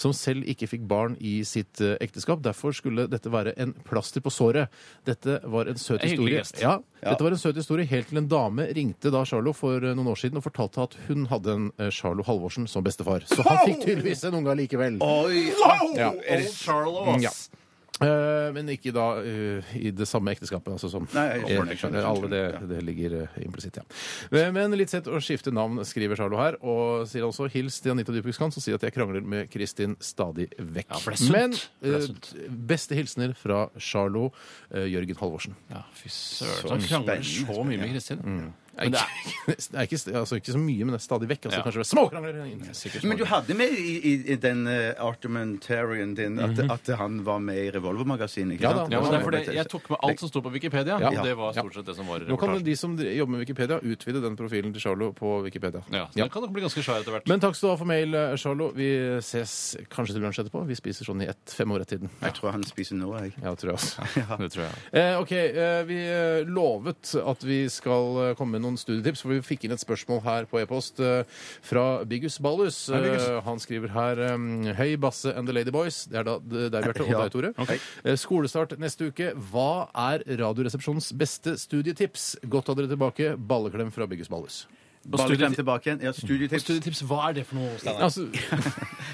C: som selv ikke fikk barn i sitt eh, ekteskap. Derfor skulle dette være en plaster på såret. Dette var en søt
D: En hyggelig
C: historie.
D: gest.
C: Ja, dette var en søt historie helt til en dame ringte da Charlo for eh, noen år siden og fortalte at hun hadde en eh, Charlo Halvorsen som bestefar. Så han fikk tydeligvis en unge likevel.
E: Oi!
C: Ja.
E: Er det
D: Charlo,
C: Ja. Eh, men ikke da eh, i det samme ekteskapet, altså som
E: Nei, jeg skjønner,
C: Eh,
E: jeg skjønner,
C: alle det, det ligger eh, implisitt, ja. Men, men litt sett å skifte navn, skriver Charlo her, og sier altså hils til Anita Dybvik Skans og sier at jeg krangler med Kristin stadig vekk.
D: Ja, for det er sunt.
C: Men
D: For det er
C: eh, beste hilsener fra Charlo eh, Jørgen Halvorsen. [LAUGHS]
D: Ja, fy søren. Han krangler så mye med Kristin.
C: Nei,
D: Men det
C: Mm. Ikke, nei, ikke, st- altså, ikke så mye, men det er stadig vekk. Altså,
D: Ja.
C: Kanskje det er småkrangler.
D: Sikkert
E: Men du
D: smart.
E: hadde med i, i, i den eh, argumentarian din at, at han var med i Revolvermagasinet, ikke
C: Ja,
E: sant?
C: da.
D: ja, men det er
E: var med
D: fordi
E: på-
D: jeg tok med alt som sto på Wikipedia,
C: Ja.
D: og det var
C: Ja.
D: stort sett det som var i
C: Nå kan
D: reportasjen.
C: de som dri- jobber med Wikipedia, utvide den profilen til Charlo på Wikipedia.
D: Ja, så
C: Ja.
D: Den kan nok bli ganske svær etter hvert.
C: Men takk skal du ha for mail, eh, Charlo. Vi ses kanskje til lunsj etterpå. Vi spiser sånn i ett, fem år etter tiden.
E: Jeg tror han spiser nå, jeg.
C: Ja, det tror jeg også.
D: Det tror jeg.
C: Eh, ok, eh, vi eh, lovet at vi skal eh, komme med noen studietips, for vi fikk inn et spørsmål her på e-post eh, fra Biggus Ballus.
D: Biggus.
C: Eh, han skriver her eh, Høy Basse and the Lady Boys. Det er da det- deg, Bjarte, og
E: Ja.
C: deg, Tore. Eh, skolestart neste uke. Hva er Radioresepsjonens beste studietips? Godt av dere tilbake. Balleklem fra Biggus Ballus.
E: Balleklem tilbake igjen. Ja, studietips.
D: Studietips, hva er det for noe? Steinar?
E: [LAUGHS]
C: Altså,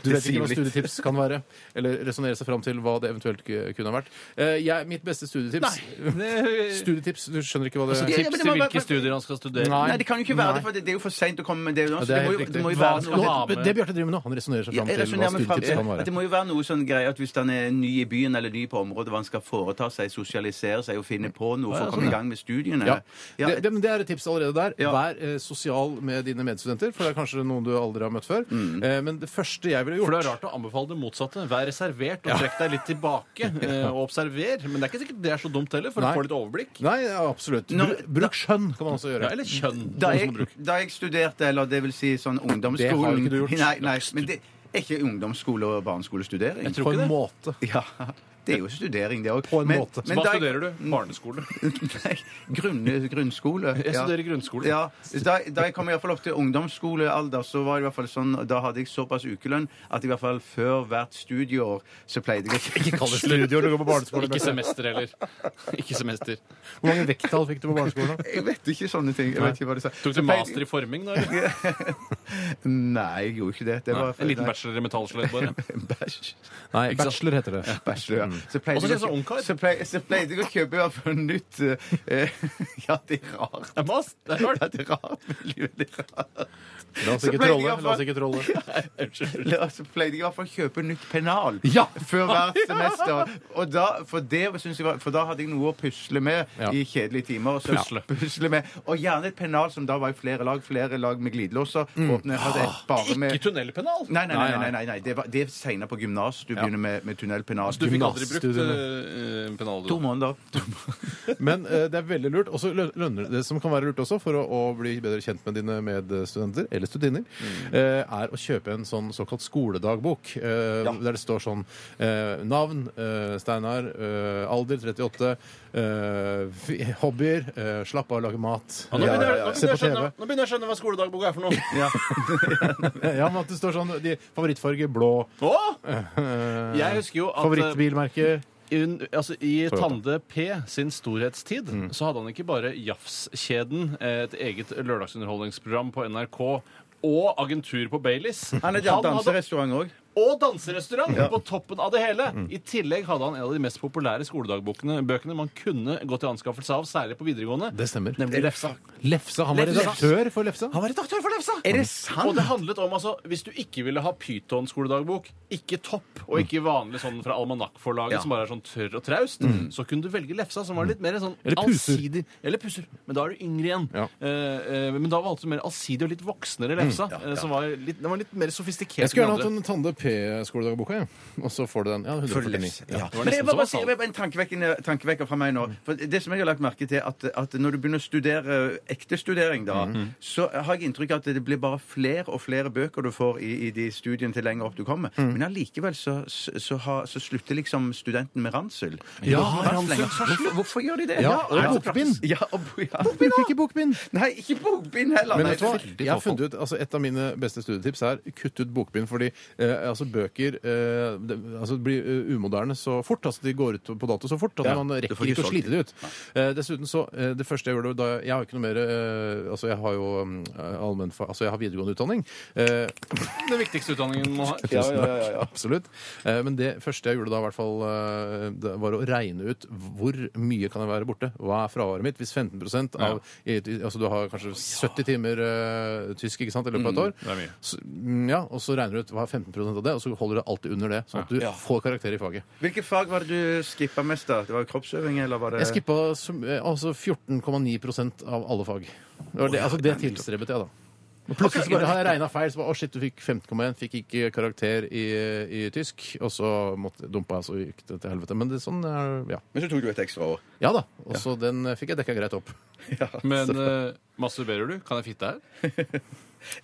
C: du vet
E: sier
C: ikke hva
E: litt.
C: studietips kan være. Eller resonnere seg fram til hva det eventuelt k- kunne ha vært. Eh, jeg, mitt beste studietips [LAUGHS] Studietips, Du skjønner ikke hva det
E: Ja, men
D: Tips
E: Altså, det
D: til
E: må være-
D: hvilke studier han skal studere.
C: Nei.
E: Nei, det kan jo ikke være det, for det det er jo for seint å komme med det.
C: Ja,
E: nå, så Det må jo- det må jo
C: Hva
E: være
D: skal
E: noe
D: du ha?
C: det, det Bjarte driver med nå, han resonnerer seg
E: Jeg
C: fram til hva
E: resonnerer meg fram
C: studietips kan
E: til at
C: være.
E: Det må jo være noe sånn greie at hvis han er ny i byen eller ny på området, hva han skal foreta seg, sosialisere seg og finne på noe for å komme i gang med studiene.
C: Ja.
E: Ja,
C: Det, det, men det er et tips allerede der.
E: Ja.
C: Vær eh, sosial med dine medstudenter, for det er kanskje noen du aldri har møtt før.
E: Mm.
C: Eh, men det første jeg ville gjort
D: For det er rart å anbefale det motsatte. Vær reservert og trekk deg
C: [LAUGHS]
D: litt tilbake. eh, Og observer. Men det er ikke sikkert det er så dumt heller, for
C: Nei.
D: å få litt overblikk.
C: Nei, ja, absolutt.
E: Når-
C: Bru- Bruk skjønn kan man også gjøre.
D: Ja, eller kjønn.
E: Da jeg, da jeg studerte, eller det vil si sånn ungdomsskolen
C: Det har ikke du gjort.
E: Nei, nei, men det er ikke ungdomsskole og barneskolestudering.
D: Jeg tror
C: på
D: ikke
C: en
D: det.
C: måte.
E: Ja. Det er jo studering, det òg.
C: På en måte.
D: Hva studerer du?
C: Mm.
D: Barneskole.
E: Nei, [LAUGHS] grunn, grunnskole.
D: Jeg studerer grunnskole.
E: Ja. Da, da jeg kom i hvert fall opp til ungdomsskolealder, så var det i hvert fall sånn, da hadde jeg såpass ukelønn at i hvert fall før hvert studieår så pleide jeg
D: [LAUGHS]
E: å
C: Kall det studio når du går på barneskole.
D: Ikke semester heller. Ikke semester.
C: Hvor mange vekttall fikk du på barneskolen? da?
E: Jeg vet ikke sånne ting. Jeg vet ikke hva det sa.
D: Tok du master i forming, da? eller?
E: Nei, jeg gjorde ikke det. det var,
D: En liten bachelor i metallskjelett, bare.
E: [LAUGHS] Bæsj.
C: Nei,
D: Ikke sant?
C: bachelor heter det.
E: Bachelor, ja. Så pleide,
D: Mm. Og så
E: jeg,
D: kjennes det
E: å-
D: ungkar.
E: så, pleide, så pleide jeg å kjøpe i hvert fall nytt eh, [LAUGHS] Ja, det er rart.
D: Det er mas- det er
E: Ja,
D: rart.
E: det er rart. Veldig, veldig rart.
C: La oss
E: Så
C: ikke
E: ble det
C: trolle.
E: iallfall-
C: La oss ikke trolle.
E: La- Så pleide jeg i hvert fall å kjøpe nytt pennal
C: Ja!
E: før
D: [LAUGHS]
E: hvert semester. Og da, for, det, synes jeg var, for da hadde jeg noe å pusle med
C: Ja.
E: i kjedelige timer. og Så,
D: Pusle.
E: pusle med. Og gjerne et pennal som da var i flere lag, flere lag med glidelåser. Åpne, hadde et bare
D: Mm.
E: med...
D: Ah, Ikke tunnelpennal!
E: Nei, nei, nei, nei, nei, nei. Det, var- det er senere på gymnas du begynner med, med tunnelpennal.
D: Altså, Du fikk aldri brukt
C: Gymnasstudiene.
D: eh, pennal,
E: To
D: du. [LAUGHS]
E: måneder.
C: Men eh, det er veldig lurt. Også lø- lønner, det som kan være lurt også, for å, å bli bedre kjent med dine medstudenter, eller studinner,
D: Mm.
C: eh, er å kjøpe en sånn såkalt skoledagbok. eh, Der det står sånn eh, navn, eh, Steinar, eh, alder 38, eh, fi- hobbyer, eh, slapp av, lage mat,
D: Ja, nå,
C: eh,
D: begynner, jeg-
C: se
D: nå, begynner
C: på
D: jeg å skjønne,
C: TV.
D: nå begynner jeg å skjønne hva skoledagboka er for noe.
C: Ja, men at det står sånn de, favorittfarge blå,
D: Å!
C: eh,
D: Jeg husker jo at eh,
C: favorittbilmerke
D: un, altså, I Tande P sin storhetstid så hadde han ikke bare Jafs-kjeden, eh, et eget lørdagsunderholdningsprogram på NRK, og agentur på Baileys.
E: Han hadde danserestaurant òg.
D: og danserestaurant på toppen av det hele. I tillegg hadde han en av de mest populære skoledagbøkene bøkene man kunne gå til anskaffelse av, særlig på videregående.
C: Det stemmer.
D: Nemlig Lefsa.
C: Lefsa. Han var
D: Lefsa.
C: redaktør for Lefsa.
D: var redaktør for Lefsa!
E: Er det sant?
D: Og det handlet om altså, hvis du ikke ville ha Pyton-skoledagbok, ikke topp, og ikke vanlig sånn fra Almanakkforlaget, som bare er sånn tørr og traust, så kunne du velge Lefsa, som var litt mer sånn
C: Eller Puser.
D: allsidig. Eller Puser. Men da er du yngre igjen.
C: Ja.
D: Eh, eh, men da valgte du mer allsidig og litt voksnere Lefsa, eh, som var litt, den var litt mer sofistikert.
C: Jeg skulle
D: enn
C: gjerne
D: de
C: hatt en Tande P-skoledagboka, jeg. Og så får du den. Ja, 149.
E: Ja.
D: var nesten
E: Men jeg
D: som
E: må
D: han
E: bare
D: sa
E: si,
D: det.
E: jeg var en tankevekkende tankevekker fra meg nå. For det som jeg har lagt merke til, at, at når du begynner å studere eh, ekte studering, da,
C: Mm.
E: så har jeg inntrykk av at det blir bare flere og flere bøker du får i, i de studiene til lenger opp du kommer.
C: Mm.
E: Men allikevel så, så, så, har- så slutter liksom studenten med ransel.
C: Ja,
E: Hvorfor-
C: ransel tar
E: Hvorfor, hvorfor gjør de det?
C: Ja, og
E: er det så
C: bokbind.
E: praktisk? Ja, og bo- ja.
C: Bokbind, ikke bokbind.
E: Nei, ikke bokbind heller.
C: Men
E: Nei,
C: vet du hva?
E: det er veldig
C: Jeg har
E: tåfalt.
C: funnet ut, altså Et av mine beste studietips er kutt ut bokbind. Fordi eh, altså bøker eh, det, altså det blir eh, umoderne så fort. altså De går ut på dato så fort at
E: Ja,
C: man
E: du
C: rekker
E: får ikke
C: ikke å
E: solgt
C: slite det ut. Eh, dessuten så, eh, Det første jeg gjorde da Jeg har ikke noe mer eh, altså Jeg har jo mm, allmennfag Altså jeg har videregående utdanning. Eh,
D: Den viktigste utdanningen man har.
C: Tusen takk. Absolutt. Eh, Men det første jeg gjorde da, i hvert fall, eh, det var å regne ut hvor mye kan jeg være borte. Hva er fraværet mitt? Hvis 15 av i- i- Altså du har kanskje 70 timer eh, tysk ikke sant, i løpet av et år.
D: det er mye.
C: Så, mm, ja, og så regner du ut hva er 15 av det, og så holder du det alltid under det. Sånn at du får karakter i faget.
E: Hvilke fag var det du skippa mest, da? Det var kroppsøving, eller var det
C: Jeg skippa som- eh, altså 14,9 av alle fag. Det, var det, altså, det tilstrebet jeg, da. Og plutselig så bare har jeg regna feil. Så bare, å shit, du fikk 15,1, fikk ikke karakter i, i tysk. Og så måtte, dumpa jeg, så gikk det til helvete. Men det, er sånn er- ja.
E: Men så tok du et ekstra år.
C: ja da. Og så den eh, fikk jeg dekka greit opp.
D: Men eh, masturberer du? Kan jeg fitte her?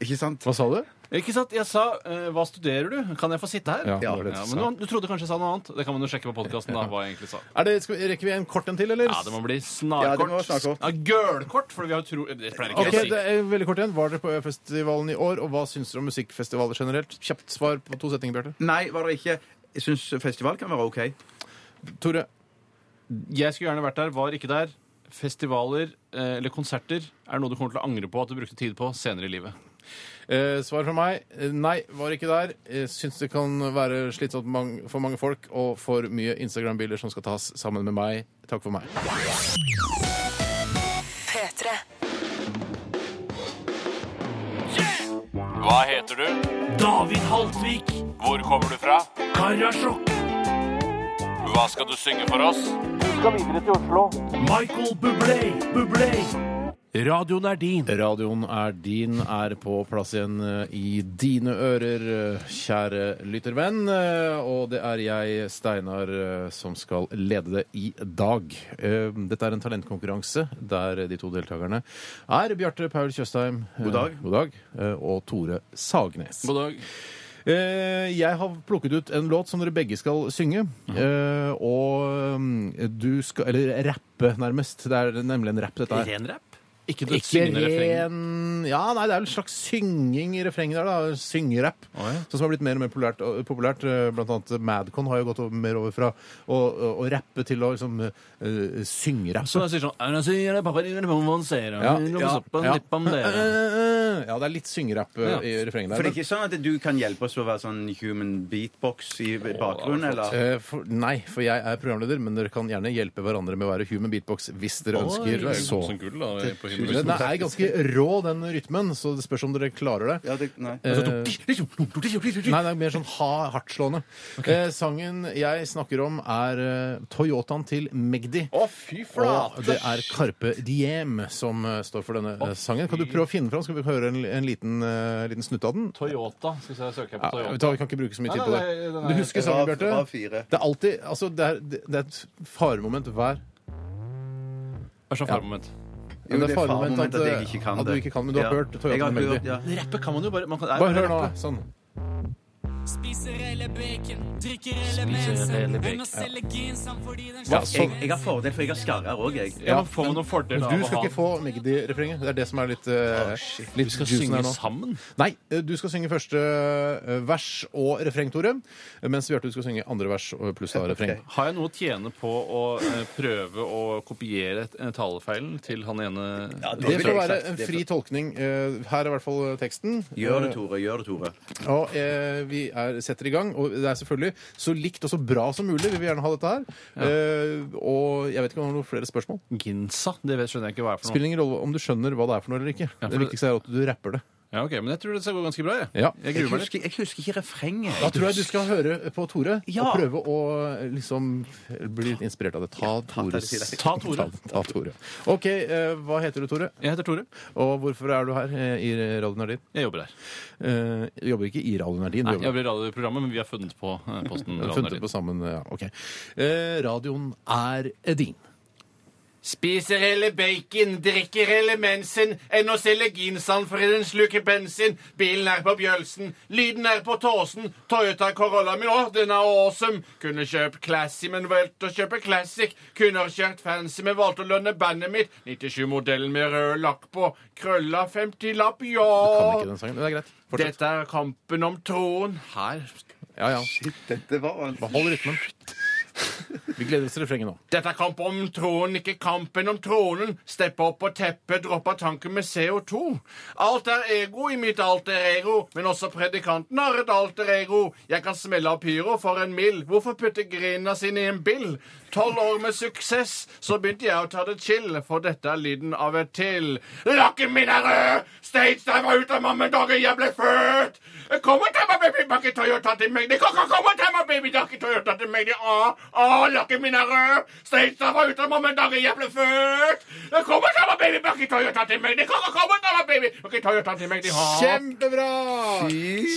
E: Ikke sant?
C: Hva sa du?
D: Ikke sant? Jeg sa eh, 'hva studerer du'? Kan jeg få sitte her?
C: Ja, det var det du
D: men
C: sa.
D: du, du trodde kanskje jeg sa noe annet? Det kan man jo sjekke på podkasten. hva
C: [LAUGHS]
D: jeg egentlig sa.
C: Er det, skal vi, rekker vi en kort en til, eller?
D: Ja, det må bli
E: Ja, det
D: snarkort.
E: må være snarkort.
D: Ja, Gølkort, for vi har jo tro... Det pleier ikke
C: Ok,
D: jeg å si.
C: det er veldig kort igjen. Var dere på Øyafestivalen i år, og hva syns dere om musikkfestivaler generelt? Kjapt svar på to setninger, Bjarte.
E: Nei, var det ikke. Jeg syns festival kan være OK.
C: Tore.
D: Jeg skulle gjerne vært der, var ikke der. Festivaler eh, eller konserter er noe du kommer til å angre på at du brukte tid på senere i livet.
C: Eh, svar fra meg eh, nei, var ikke der. Eh, syns det kan være slitsomt mang- for mange folk og for mye Instagram-bilder som skal tas sammen med meg. Takk for meg.
B: P3.
G: Hva heter du? David Haltvik. Hvor kommer du fra? Karasjok. Hva skal du synge for oss? Du skal videre til Oslo. Michael Bublé. Bublé. Radioen er din.
C: Radioen er din, er på plass igjen eh, i dine ører, eh, kjære lyttervenn. Eh, Og det er jeg, Steinar, eh, som skal lede det i dag. Eh, Dette er en talentkonkurranse der de to deltakerne er Bjarte Paul Tjøstheim eh,
E: God dag.
C: God dag eh, og Tore Sagnes.
D: God dag.
C: Eh, jeg har plukket ut en låt som dere begge skal synge. Eh, og mm, du skal Eller rappe, nærmest. Det er nemlig en rapp, dette her.
D: Ren rap? Ikke det
C: Ikke
D: syngende refrenget?
C: ren Ja, nei, det er vel en slags synging i refrenget der, da. Syngerapp.
D: Å, ja.
C: Sånn som har blitt mer og mer populært. populært. eh, Blant annet Madcon har jo gått over, mer over fra å, å, å rappe til å liksom eh, syngrappe.
D: Så jeg sier sånn «Erna sier det, pappa ringer, mamma sier det,
C: Ja,
D: lommes
C: ja,
D: opp og
C: ja. Eh,
D: nipp om dere».
C: Ja, det er litt syngerapp eh,
D: Ja.
C: i refrenget der.
E: For det er ikke sånn at du kan hjelpe oss å være sånn human beatbox i bakgrunnen, eller?
C: Eh, for, nei, for jeg er programleder, men dere kan gjerne hjelpe hverandre med å være human beatbox hvis dere
D: Oi,
C: ønsker så.
D: som gull, da, på
C: Den
D: himmelen.
C: er ganske rå, den rytmen, så det spørs om dere klarer det.
E: Ja, det, nei.
C: eh, Nei, det er mer sånn ha hardtslående. Eh, sangen jeg snakker om, er eh, Toyotaen til Magdi.
E: Å, fy
C: Og det er Carpe Diem som eh, står for denne eh, sangen. Kan du prøve å finne fram? Skal vi høre en, en liten, eh, liten snutt av den?
D: Toyota. Skal jeg søke
C: Ja,
D: på
C: vet
D: Toyota?
C: du hva, vi kan ikke bruke så mye
D: Nei,
C: tid på
D: nei, nei,
C: det.
D: nei, nei.
C: Du husker sangen,
E: Rav- Rav
C: Bjarte?
E: fire.
C: Det er alltid Altså, det er, det- det er et faremoment hver
D: Hva er sånn farmoment?
C: Men det er faremoment
E: faremoment
C: at,
E: at jeg ikke kan
C: at du
E: det.
C: ikke kan, men du har
E: Ja.
C: hørt
E: Jeg
C: Toyota
E: har
C: Melody.
E: hørt, ja.
D: Rappe kan man jo bare man kan,
C: Bare hør nå. Sånn.
H: Spiser hele bacon, drikker hele
D: hele
H: mensen.
D: bacon,
H: Hvem å selge gin samt fordi den
C: Ja,
E: Jeg,
C: sånn.
E: jeg har fordel, for jeg har skarrer òg, jeg.
D: Ja, men får man noen fordel
C: Men
D: av
C: du
D: å
C: skal
D: ha
C: ikke få Magdi-refrenget. Det er det som er litt, eh, litt
D: Vi skal
C: juicen
D: synge
C: her nå.
D: sammen?
C: Nei, eh, du skal synge første eh, vers og refreng, Tore. Mens Bjarte du skal synge andre vers og pluss da refreng.
D: Har jeg noe å tjene på å eh, prøve å kopiere et- eh, talefeilen til han ene
C: Det får
E: jeg
C: være
E: sagt.
C: en
E: Det
C: fri tolkning. Eh, Her er i hvert fall teksten. Eh,
E: Gjør det, Tore. Gjør det, Tore.
C: Og eh, vi er, setter i gang. Og det er selvfølgelig så likt og så bra som mulig. Vi vil gjerne ha dette her. Eh, og jeg vet ikke om du har noen flere spørsmål.
D: Ginsa? Det vet, skjønner jeg ikke hva er for noe.
C: Spiller ingen rolle om du skjønner hva det er for noe eller ikke.
D: Ja, for
C: det
D: det-
C: viktigste er at du rapper det.
D: Ja, ok, Men jeg tror det skal gå ganske bra. Jeg,
C: Ja.
D: jeg
E: Jeg
D: gruer meg litt.
E: husker, jeg husker ikke refrenget.
C: Da tror jeg du skal høre på Tore
E: Ja.
C: og prøve å eh, liksom bli litt inspirert av det. Ta Tores
D: Ta Tore.
C: Ta, ta Tore. OK, eh, hva heter du, Tore?
D: Jeg heter Tore.
C: Og hvorfor er du her eh, i Radio Nardin?
D: Jeg jobber her.
C: Eh, du jobber ikke i Radio Nardin. du
D: Nei,
C: jobber-
D: jeg blir i radioprogrammet, men vi har [LAUGHS] funnet på eh, posten.
C: Du har funnet på sammen, ja, ok. Eh, radioen er din.
D: Spiser hele bacon, drikker hele mensen, enn å selge ginsand fordi den sluker bensin. Bilen er på Bjølsen, lyden er på Tåsen. Toyota Corolla min, åh, den er awesome. Kunne kjøpt Classy, men valgte å kjøpe Classic. Kunne ha kjørt Fancy, men valgte å lønne bandet mitt. 97-modellen med rød lakk på. Krølla 50-lapp, ja.
C: Kan ikke den sangen, men det er greit. Fortsett.
D: Dette er kampen om troen. Her.
C: Ja, ja.
E: Dette var vanskelig.
C: Behold rytmen. Vi gleder oss til refrenget nå.
D: Dette er kamp om troen, ikke kampen om tronen. Steppe opp på teppet, droppe tanken med CO2. Alt er ego i mitt alter ego, men også predikanten har et alter ego. Jeg kan smelle av pyro for en mill. Hvorfor putte grena sine i en bill? Tolv år med suksess, så begynte jeg å ta det chill, for dette er lyden av et til. Lakken min er rød! Stage der var ute av mammen dagen jeg ble født! Kom og ta meg, baby, bakke Toyota til meg. Kom, kom, kom og ta meg, baby, bakke Toyota til meg. Å, å, lakken min er rød. Steinstad var ute av mammen dagen jeg ble født. Kom og ta meg, baby, bakke Toyota til meg. Kom, kom, kom og ta meg, baby, bakke Toyota til meg. Å.
C: Kjempebra!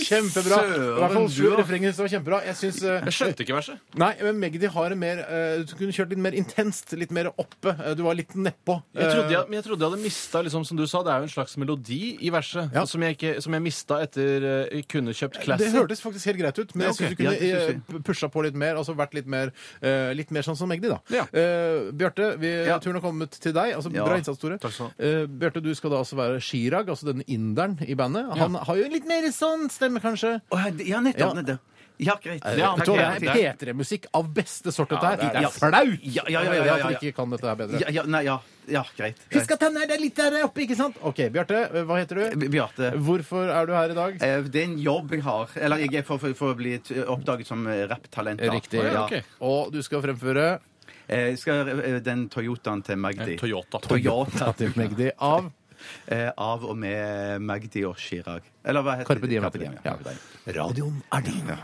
C: Kjempebra. I hvert fall sju refrenger som var kjempebra. Jeg synes, eh,
D: Jeg skjønte ikke verset.
C: Nei, men Magdi har en mer eh, Du kunne kjørt litt mer intenst, litt mer oppe. Eh, du var litt nedpå.
D: Jeg trodde
C: Eh,
D: jeg, men jeg trodde jeg hadde mista, liksom, som du sa, det er jo en slags melodi i verset
C: Ja.
D: som jeg, ikke- som jeg mista etter eh, kunne kjøpt
C: det
D: Classic.
C: hørtes faktisk helt greit ut, men
D: Ja,
C: jeg syns
D: ok.
C: du kunne
E: Ja, det synes
C: eh, pusha på litt mer. Altså vært litt mer, eh, litt mer sånn som Magdi, da.
D: Ja.
C: Eh, Bjarte, vi,
E: Ja.
C: turen har kommet til deg. Altså,
E: Ja.
C: Bra innsats, Tore.
D: Takk skal
C: Eh, Bjarte, du skal da altså være Chirag, altså denne inderen i bandet. Han har jo en litt mer sånn stemme, kanskje.
E: Ja,
C: Ja.
E: nettopp. nettopp. Ja, greit.
C: Eh,
D: Ja,
C: vet du hva, det er P3-musikk av beste sort, dette her. Det
E: det er
C: er flaut!
E: Ja, ja, ja, ja,
C: Jeg vet
E: ja,
C: at
E: ja.
C: vi ikke kan dette her bedre.
E: Ja, ja, nei, ja. ja, greit.
C: Husk at han er der litt der oppe, ikke sant? OK, Bjarte, eh, hva heter du?
E: Eh, B- Bjarte.
C: Hvorfor er du her i dag?
E: Eh, Det er en jobb jeg har. Eller jeg er for, for, for å bli t- oppdaget som eh, rapptalent. da.
C: Riktig.
E: Ja.
C: ok. Og du skal fremføre
E: Eh, Skal eh, den Toyotaen til Magdi
D: Toyota.
E: Toyota
C: Til Magdi av
E: [LAUGHS] eh, av og med Magdi og Chirag. Eller hva heter
C: Carpe Diem.
E: ja.
C: Ja. Radioen er din.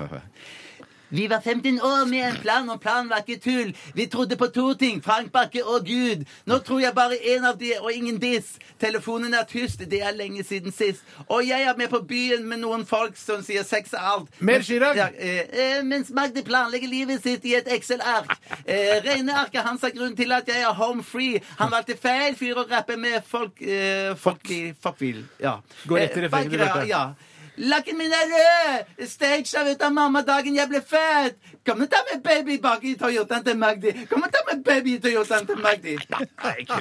I: Vi var 15 år med en plan, og planen var ikke tull. Vi trodde på to ting, Frank Bakke og Gud. Nå tror jeg bare én av de, og ingen diss. Telefonen er tyst, det er lenge siden sist. Og jeg er med på byen med noen folk som sier sex er alt.
C: Mer Chirag?
I: Ja, eh, eh, mens Magdi planlegger livet sitt i et Excel-ark. Eh, Regnearket hans er grunnen til at jeg er home free. Han valgte feil fyr å rappe med folk... Eh, folk, folk,
E: Fuck Will. Ja. Eh,
C: Gå rett til refrenget,
I: Bagheera,
C: Bjarte.
I: Ja.
E: Lakken min er rød! Staged av ut av mamma dagen jeg ble født! Kom og ta med baby bak i Toyotaen til Magdi! Kom og ta med baby i Toyotaen til Magdi!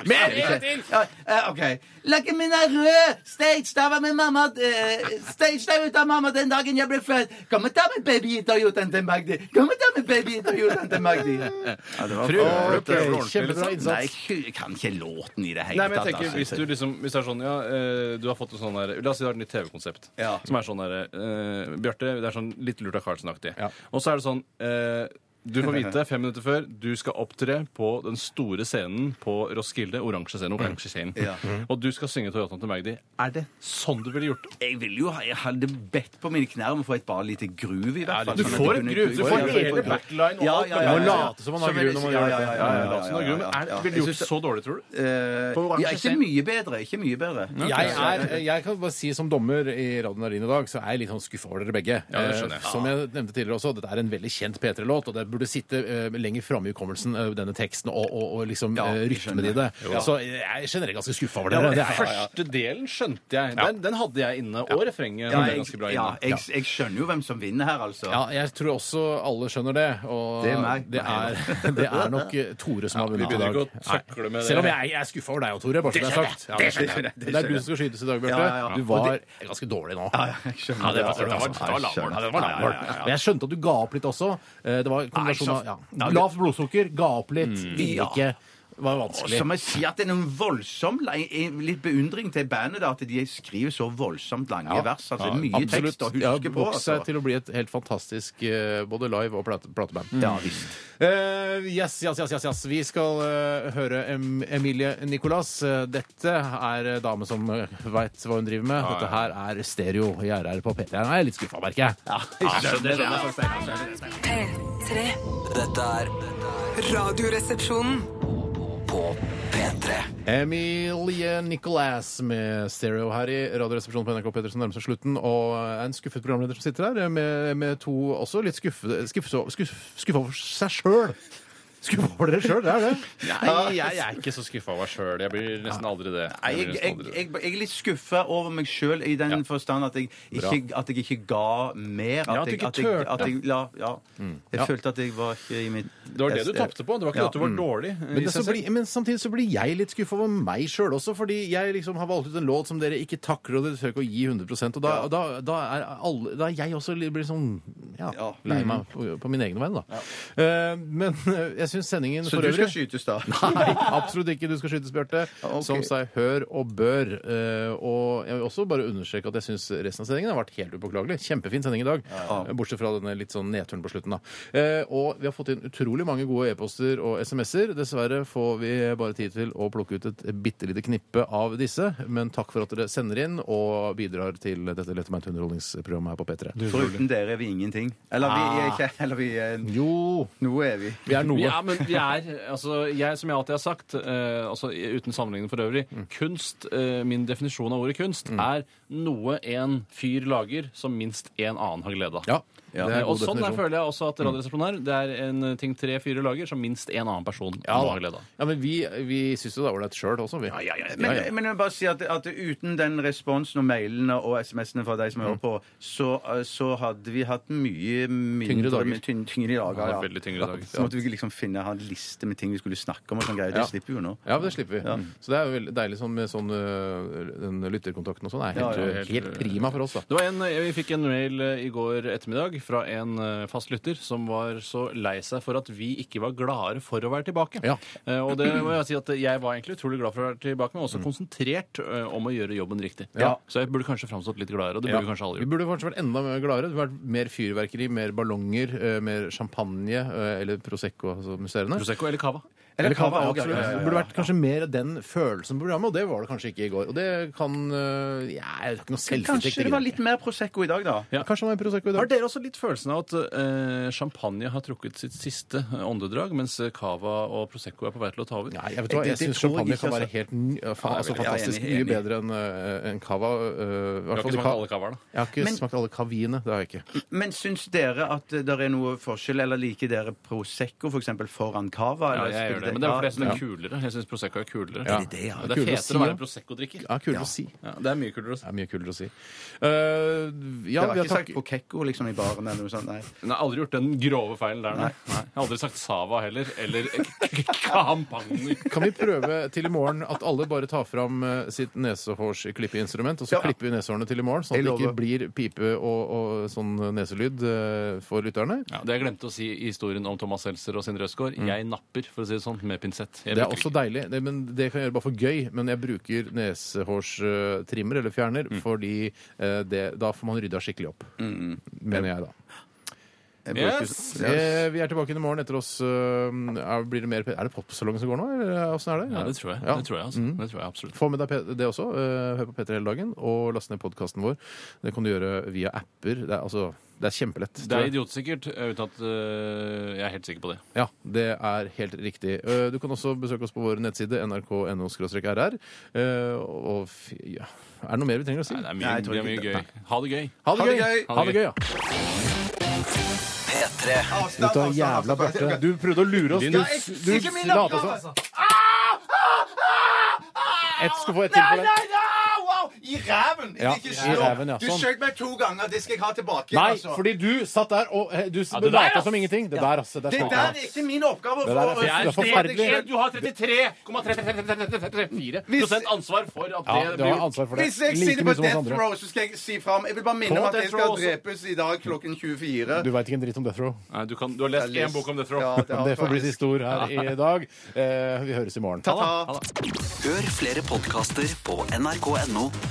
D: Mer! En til!
E: Ja, eh, OK. Lakken min er rød! Staged av med mamma eh, Staged av ut av mamma den dagen jeg ble født! Kom og ta med baby i Toyotaen til Magdi! Kom og ta med baby i Toyotaen til Magdi!
C: Kjempebra innsats.
E: Nei, jeg kan ikke låten i det hele
D: Nei, men jeg tenker,
E: altså.
D: hvis, du liksom, hvis det er sånn, ja, eh, du har fått en sånn der, La oss si du har et nytt TV-konsept.
E: Ja.
D: Som er sånn der, eh, Bjarte, det er sånn litt lurt av Carlsen-aktig.
C: Ja.
D: Og så er det sånn eh, Du får vite fem minutter før du skal opptre på den store scenen på Roskilde. Oransje scenen. oransje scenen. [LAUGHS] Og du skal synge Toyotaen til Magdi. Er det sånn du ville gjort det?
E: Jeg ville jo ha- jeg hadde bedt på mine knær om å få et bare lite groove, i hvert fall.
D: Du
E: sånn at
D: får
E: jeg
D: et
E: kunne-
D: gruve. Du får hele backline og
E: Ja,
D: alt.
E: ja,
C: Du
E: ja,
C: må
E: ja, ja.
C: late som man har
E: Som
C: grunn når man
E: ja,
C: gjør
E: ja, ja,
C: det.
E: ja, ja,
D: Ja, Sånn
E: ja, ja, ja.
D: Er, ville du gjort det så dårlig, tror du?
E: Eh, ja, ikke mye bedre. Ikke mye bedre.
C: Jeg, er, jeg kan bare si som dommer i Radio Narin i dag, så er jeg litt sånn skuffa over dere begge.
D: Ja, det skjønner jeg.
C: Eh, Som jeg nevnte tidligere også, dette er en veldig kjent P3-låt, og det burde sitte eh, lenger framme i hukommelsen, eh, denne teksten og, og, og liksom
E: Ja,
C: eh,
E: jeg
C: rytmen i det. Så jeg er generelt ganske skuffa over dere.
D: Den
C: Det er,
D: første delen skjønte jeg. Den, den hadde jeg inne. Og refrenget
E: Ja,
D: hadde jeg
E: jeg,
D: ganske bra
E: ja,
D: inne.
E: jeg, jeg skjønner jo hvem som vinner her, altså.
C: ja, jeg tror også alle skjønner det. Og
E: Det er meg.
C: Det er, [LAUGHS] det er nok eh, Tore som har
D: Vi
C: vunnet i
D: begynner
C: dag.
D: ikke å takle med det.
C: Selv om jeg, jeg er skuffa over deg og Tore. bare så det er sagt. Ja, det, det, er du som skal skytes i dag, Bjarte.
E: Ja, ja, ja.
C: Du var ganske dårlig nå.
E: Ja, jeg skjønner
C: Ja, det var,
E: altså.
C: det var, det var lavmål. Ja, det var
E: Ja, ja,
C: lavmål.
E: ja, ja.
C: Men jeg skjønte at du ga opp litt også. Eh, Det var en kombinasjon av ja. Mm. lavt blodsukker, ga opp litt, ville
E: Ja.
C: ikke Det var
E: Og
C: vanskelig.
E: så må jeg si at det er en voldsom lei- en litt beundring til bandet, da, at de skriver så voldsomt lange
C: Ja.
E: vers. Altså,
C: Ja,
E: det er mye
C: Absolutt.
E: tekst å
C: Ja,
E: huske på.
C: vokst
E: Altså.
C: seg til å bli et helt fantastisk eh, både live- og plate- plateband.
E: Ja, visst.
C: Eh, yes, yes, yes, yes, yes. Vi skal eh, høre em Emilie Nicolas. Eh, dette er eh, dame som uh, veit hva hun driver med. Dette her er stereo i RR på P3. Jeg er litt skuffa, merker jeg.
B: P3.
J: Dette er
B: Radioresepsjonen.
J: på P3.
C: Emilie Nicolas med Stereo her i Radioresepsjonen på NRK P3 som nærmer seg slutten. Og er en skuffet programleder som sitter her, med, med to også litt skuffe, skuffe, skuff, skuffa over seg sjøl. Skuffa over dere sjøl, det er det.
D: Nei, jeg er ikke så skuffa over meg sjøl. Jeg blir nesten aldri det.
E: Nei,
D: Jeg
E: jeg,
D: blir nesten
E: jeg,
D: aldri det.
E: jeg, jeg er litt skuffa over meg sjøl i den forstand at jeg, ikke, at jeg ikke ga mer. At,
D: Ja, at du
E: jeg,
D: ikke
E: at jeg,
D: turte.
E: at jeg, la, ja.
C: Mm.
E: jeg følte at jeg var ikke i mitt
D: Det var det du tapte på. Det var ikke
E: Ja.
D: at du var dårlig.
C: eh, mm. Men, det, så blir, men samtidig så blir jeg litt skuffa over meg sjøl også, fordi jeg liksom har valgt ut en låt som dere ikke takler, og dere tør ikke å gi 100 og da, da, da, er alle, da er jeg også litt- blir sånn ja,
E: Ja. Mm.
C: lei meg på, på min egen vegne, da. Eh, men eh, jeg syns sendingen
E: Så
C: for
E: du
C: øvrig
E: skal skytes, da?
C: Nei, absolutt ikke. Du skal skytes, Bjarte.
E: ok.
C: Som seg hør og bør. Eh, og jeg vil også bare understreke at jeg syns resten av sendingen har vært helt upåklagelig. Kjempefin sending i dag. Eh, Bortsett fra denne litt sånn nedturen på slutten, da. Eh, og vi har fått inn utrolig mange gode e-poster og SMS-er. Dessverre får vi bare tid til å plukke ut et bitte lite knippe av disse. Men takk for at dere sender inn og bidrar til dette lettmeint underholdningsprogrammet her på P3.
E: Foruten dere er vi ingenting. Eller vi er ikke [LAUGHS] Eller vi er
C: Jo,
E: Noe er vi.
C: vi er noe.
D: Ja, men vi er, altså, jeg, som jeg alltid har sagt, eh, altså, uten sammenligning for øvrig,
C: Mm.
D: kunst, eh, min definisjon av ordet kunst, er noe en fyr lager som minst en annen har glede av.
C: Ja, det er
D: Eh,
C: en
D: og
C: god
D: sånn der
C: definisjon. Mm.
D: føler jeg også at Radioresepsjonen er. Det er en eh, ting tre fyrer lager som minst en annen person må ha
C: da.
D: glede av.
C: ja, men vi, vi syns jo det er ålreit sjøl også, vi.
E: Men, men jeg vil bare si at, at uten den responsen og mailene og SMS-ene fra deg som
D: Mm.
E: hører på, så, eh, så hadde vi hatt mye mindre,
C: Tyngre dager.
E: mye tyn- tyngre dager
D: Ja, veldig tyngre dager.
E: Så måtte vi liksom finne ha en liste med ting vi skulle snakke om. og sånn greier.
C: Ja.
E: Det slipper vi jo nå.
C: Ja, men det slipper vi. Så det er jo veldig deilig sånn med sånn øh, den lytterkontakten og sånn. Det er helt,
E: Ja, ja,
C: øh, helt prima for oss, da.
D: Det var en, Vi fikk en mail eh, i går ettermiddag fra en eh, fast lytter som var så lei seg for at vi ikke var gladere for å være tilbake.
C: Ja.
D: Eh, Og det må Jeg si at jeg var egentlig utrolig glad for å være tilbake, men også konsentrert eh, om å gjøre jobben riktig.
C: Mm. Ja.
D: Så jeg burde kanskje framstått litt gladere, og det burde
C: Ja.
D: kanskje alle
C: Vi
D: gjort.
C: burde kanskje vært enda mer gladere. Det burde vært mer fyrverkeri, mer ballonger, øh, mer champagne øh, eller Prosecco, altså museene.
D: Prosecco eller Cava.
E: Eller
C: kava,
E: kava, ja,
C: absolutt.
E: ja, ja, ja, ja.
C: Det burde vært kanskje mer den følelsen på programmet, og det var det kanskje ikke i går. Og det kan øh, ja, Jeg har ikke noe selvtillit.
E: Kanskje det var litt mer Prosecco i dag, da.
D: Ja.
C: Kanskje det var en Prosecco i
D: Har
C: dag.
D: dere også litt følelsen av at eh, champagne har trukket sitt siste eh, åndedrag, mens eh, Cava og Prosecco er på vei til å ta over?
C: Nei, jeg vet hva, jeg
E: Det- det
C: syns
E: tror jeg
C: champagne
E: ikke,
C: kan være
E: altså.
C: helt ny, ja, faen, altså,
E: jeg er
C: fantastisk
E: enig,
C: mye
E: enig.
C: bedre enn øh, enn cava. øh, i hvert
D: Jeg
C: fall
D: har ikke
C: de
D: smakt
C: ca-
D: alle cavaene.
C: Jeg har ikke
E: Men-
C: smakt alle kaviene. Det har jeg ikke.
E: Men syns dere at det er noe forskjell, eller liker dere Prosecco for eksempel foran Cava?
D: Ja,
E: Eller
D: jeg gjør
E: spiller
D: det. Men det er fordi jeg syns det er kulere. Jeg synes Prosecco er kulere.
C: Ja.
D: Det
C: Ja,
D: er
C: kulere å
D: fetere
C: si, ja.
D: å være Prosecco-drikker.
C: Ja, kulere å si.
D: Ja, det er mye kulere å si.
C: Det er mye kulere å si. Eh, ja,
E: det var
C: vi har
E: ikke sagt
C: takket
E: på Kekko liksom, i baren eller noe sånt. Nei.
D: Nei, jeg har aldri gjort den grove feilen der. Nei. Nei. Jeg har aldri sagt Sava heller. Eller [LAUGHS] champagne.
C: Kan vi prøve til i morgen at alle bare tar fram eh, sitt nesehårsklippeinstrument, og så
E: Ja.
C: klipper vi nesehårene til i morgen, sånn at
E: Jeg
C: det ikke
E: lover.
C: blir pipe og, og sånn neselyd eh, for lytterne?
D: Ja, det jeg glemte å si i historien om Thomas Seltzer og Sindre Østgaard. Jeg napper, for å si Mm. det sånn, med pinsett. Jeg
C: Det er
D: bruker
C: også
D: ikke-
C: deilig. Det, men det kan jeg gjøre bare for gøy. Men jeg bruker nesehårstrimmer eller fjerner, fordi eh, det, da får man rydda skikkelig opp. Mener jeg, da.
E: Jeg bruker-
D: Yes!
E: Ja.
C: Eh, vi er tilbake inn i morgen etter oss. eh, er, blir det mer, pe- er det popsalong som går nå, eller eh, åssen er det?
D: Ja, det tror jeg.
C: Ja.
D: Det tror jeg, altså. det tror jeg absolutt.
C: Få med deg P- det også. eh, Hør på P3 hele dagen, og last ned podkasten vår. Det kan du gjøre via apper. Det er, altså, det er kjempelett.
D: Det
C: tror
D: er
C: jeg.
D: idiotsikkert, uten at øh, jeg er helt sikker på det.
C: Ja, det er helt riktig. Eh, Du kan også besøke oss på vår nettside nrk.no-rr. Eh, Og fy- ja. er det noe mer vi trenger å si?
D: Nei, det er mye,
E: Nei, jeg tror
D: det er mye
E: ikke
D: gøy. Ha det gøy.
C: Ha det
E: Ha det
C: gøy!
E: gøy!
C: Ha det gøy, ja.
B: P3.
E: Avstand,
C: Du
E: avstand,
C: jævla
E: avstand.
C: Bjarte. Du prøvde å lure oss. Du, du lata som. Ett skal få ett til på det.
E: Wow! I ræven!
C: Ja, i ræven, ja, sånn.
E: skjøt meg to ganger. Det skal jeg ha tilbake.
C: Nei,
E: altså.
C: fordi du satt der og eh, du
D: det der,
C: lata
D: ass.
C: som ingenting. Det der, altså. Det er
E: Det
C: sant,
E: der
C: ja.
E: er ikke min oppgave. å
C: Det der er
E: få-
C: Det er forferdelig.
D: Du har 33,34 ansvar for at
C: Ja, du har ansvar for det.
E: Hvis jeg
C: Like
E: sitter på
C: mye som oss
E: Death
C: andre.
E: Row, så skal jeg si fram Jeg vil bare minne
D: På
E: om at
D: Death
E: jeg skal
D: Row også.
E: drepes i dag klokken 24.
C: Du veit ikke en dritt om Death Row.
D: Nei, du, kan, du har lest én bok om Death Row.
E: Ja, har
C: Det får bli
E: faktisk-
C: siste ord her i dag. Eh, Vi høres i morgen.
E: Ta-ta.
B: Hør flere podkaster på nrk.no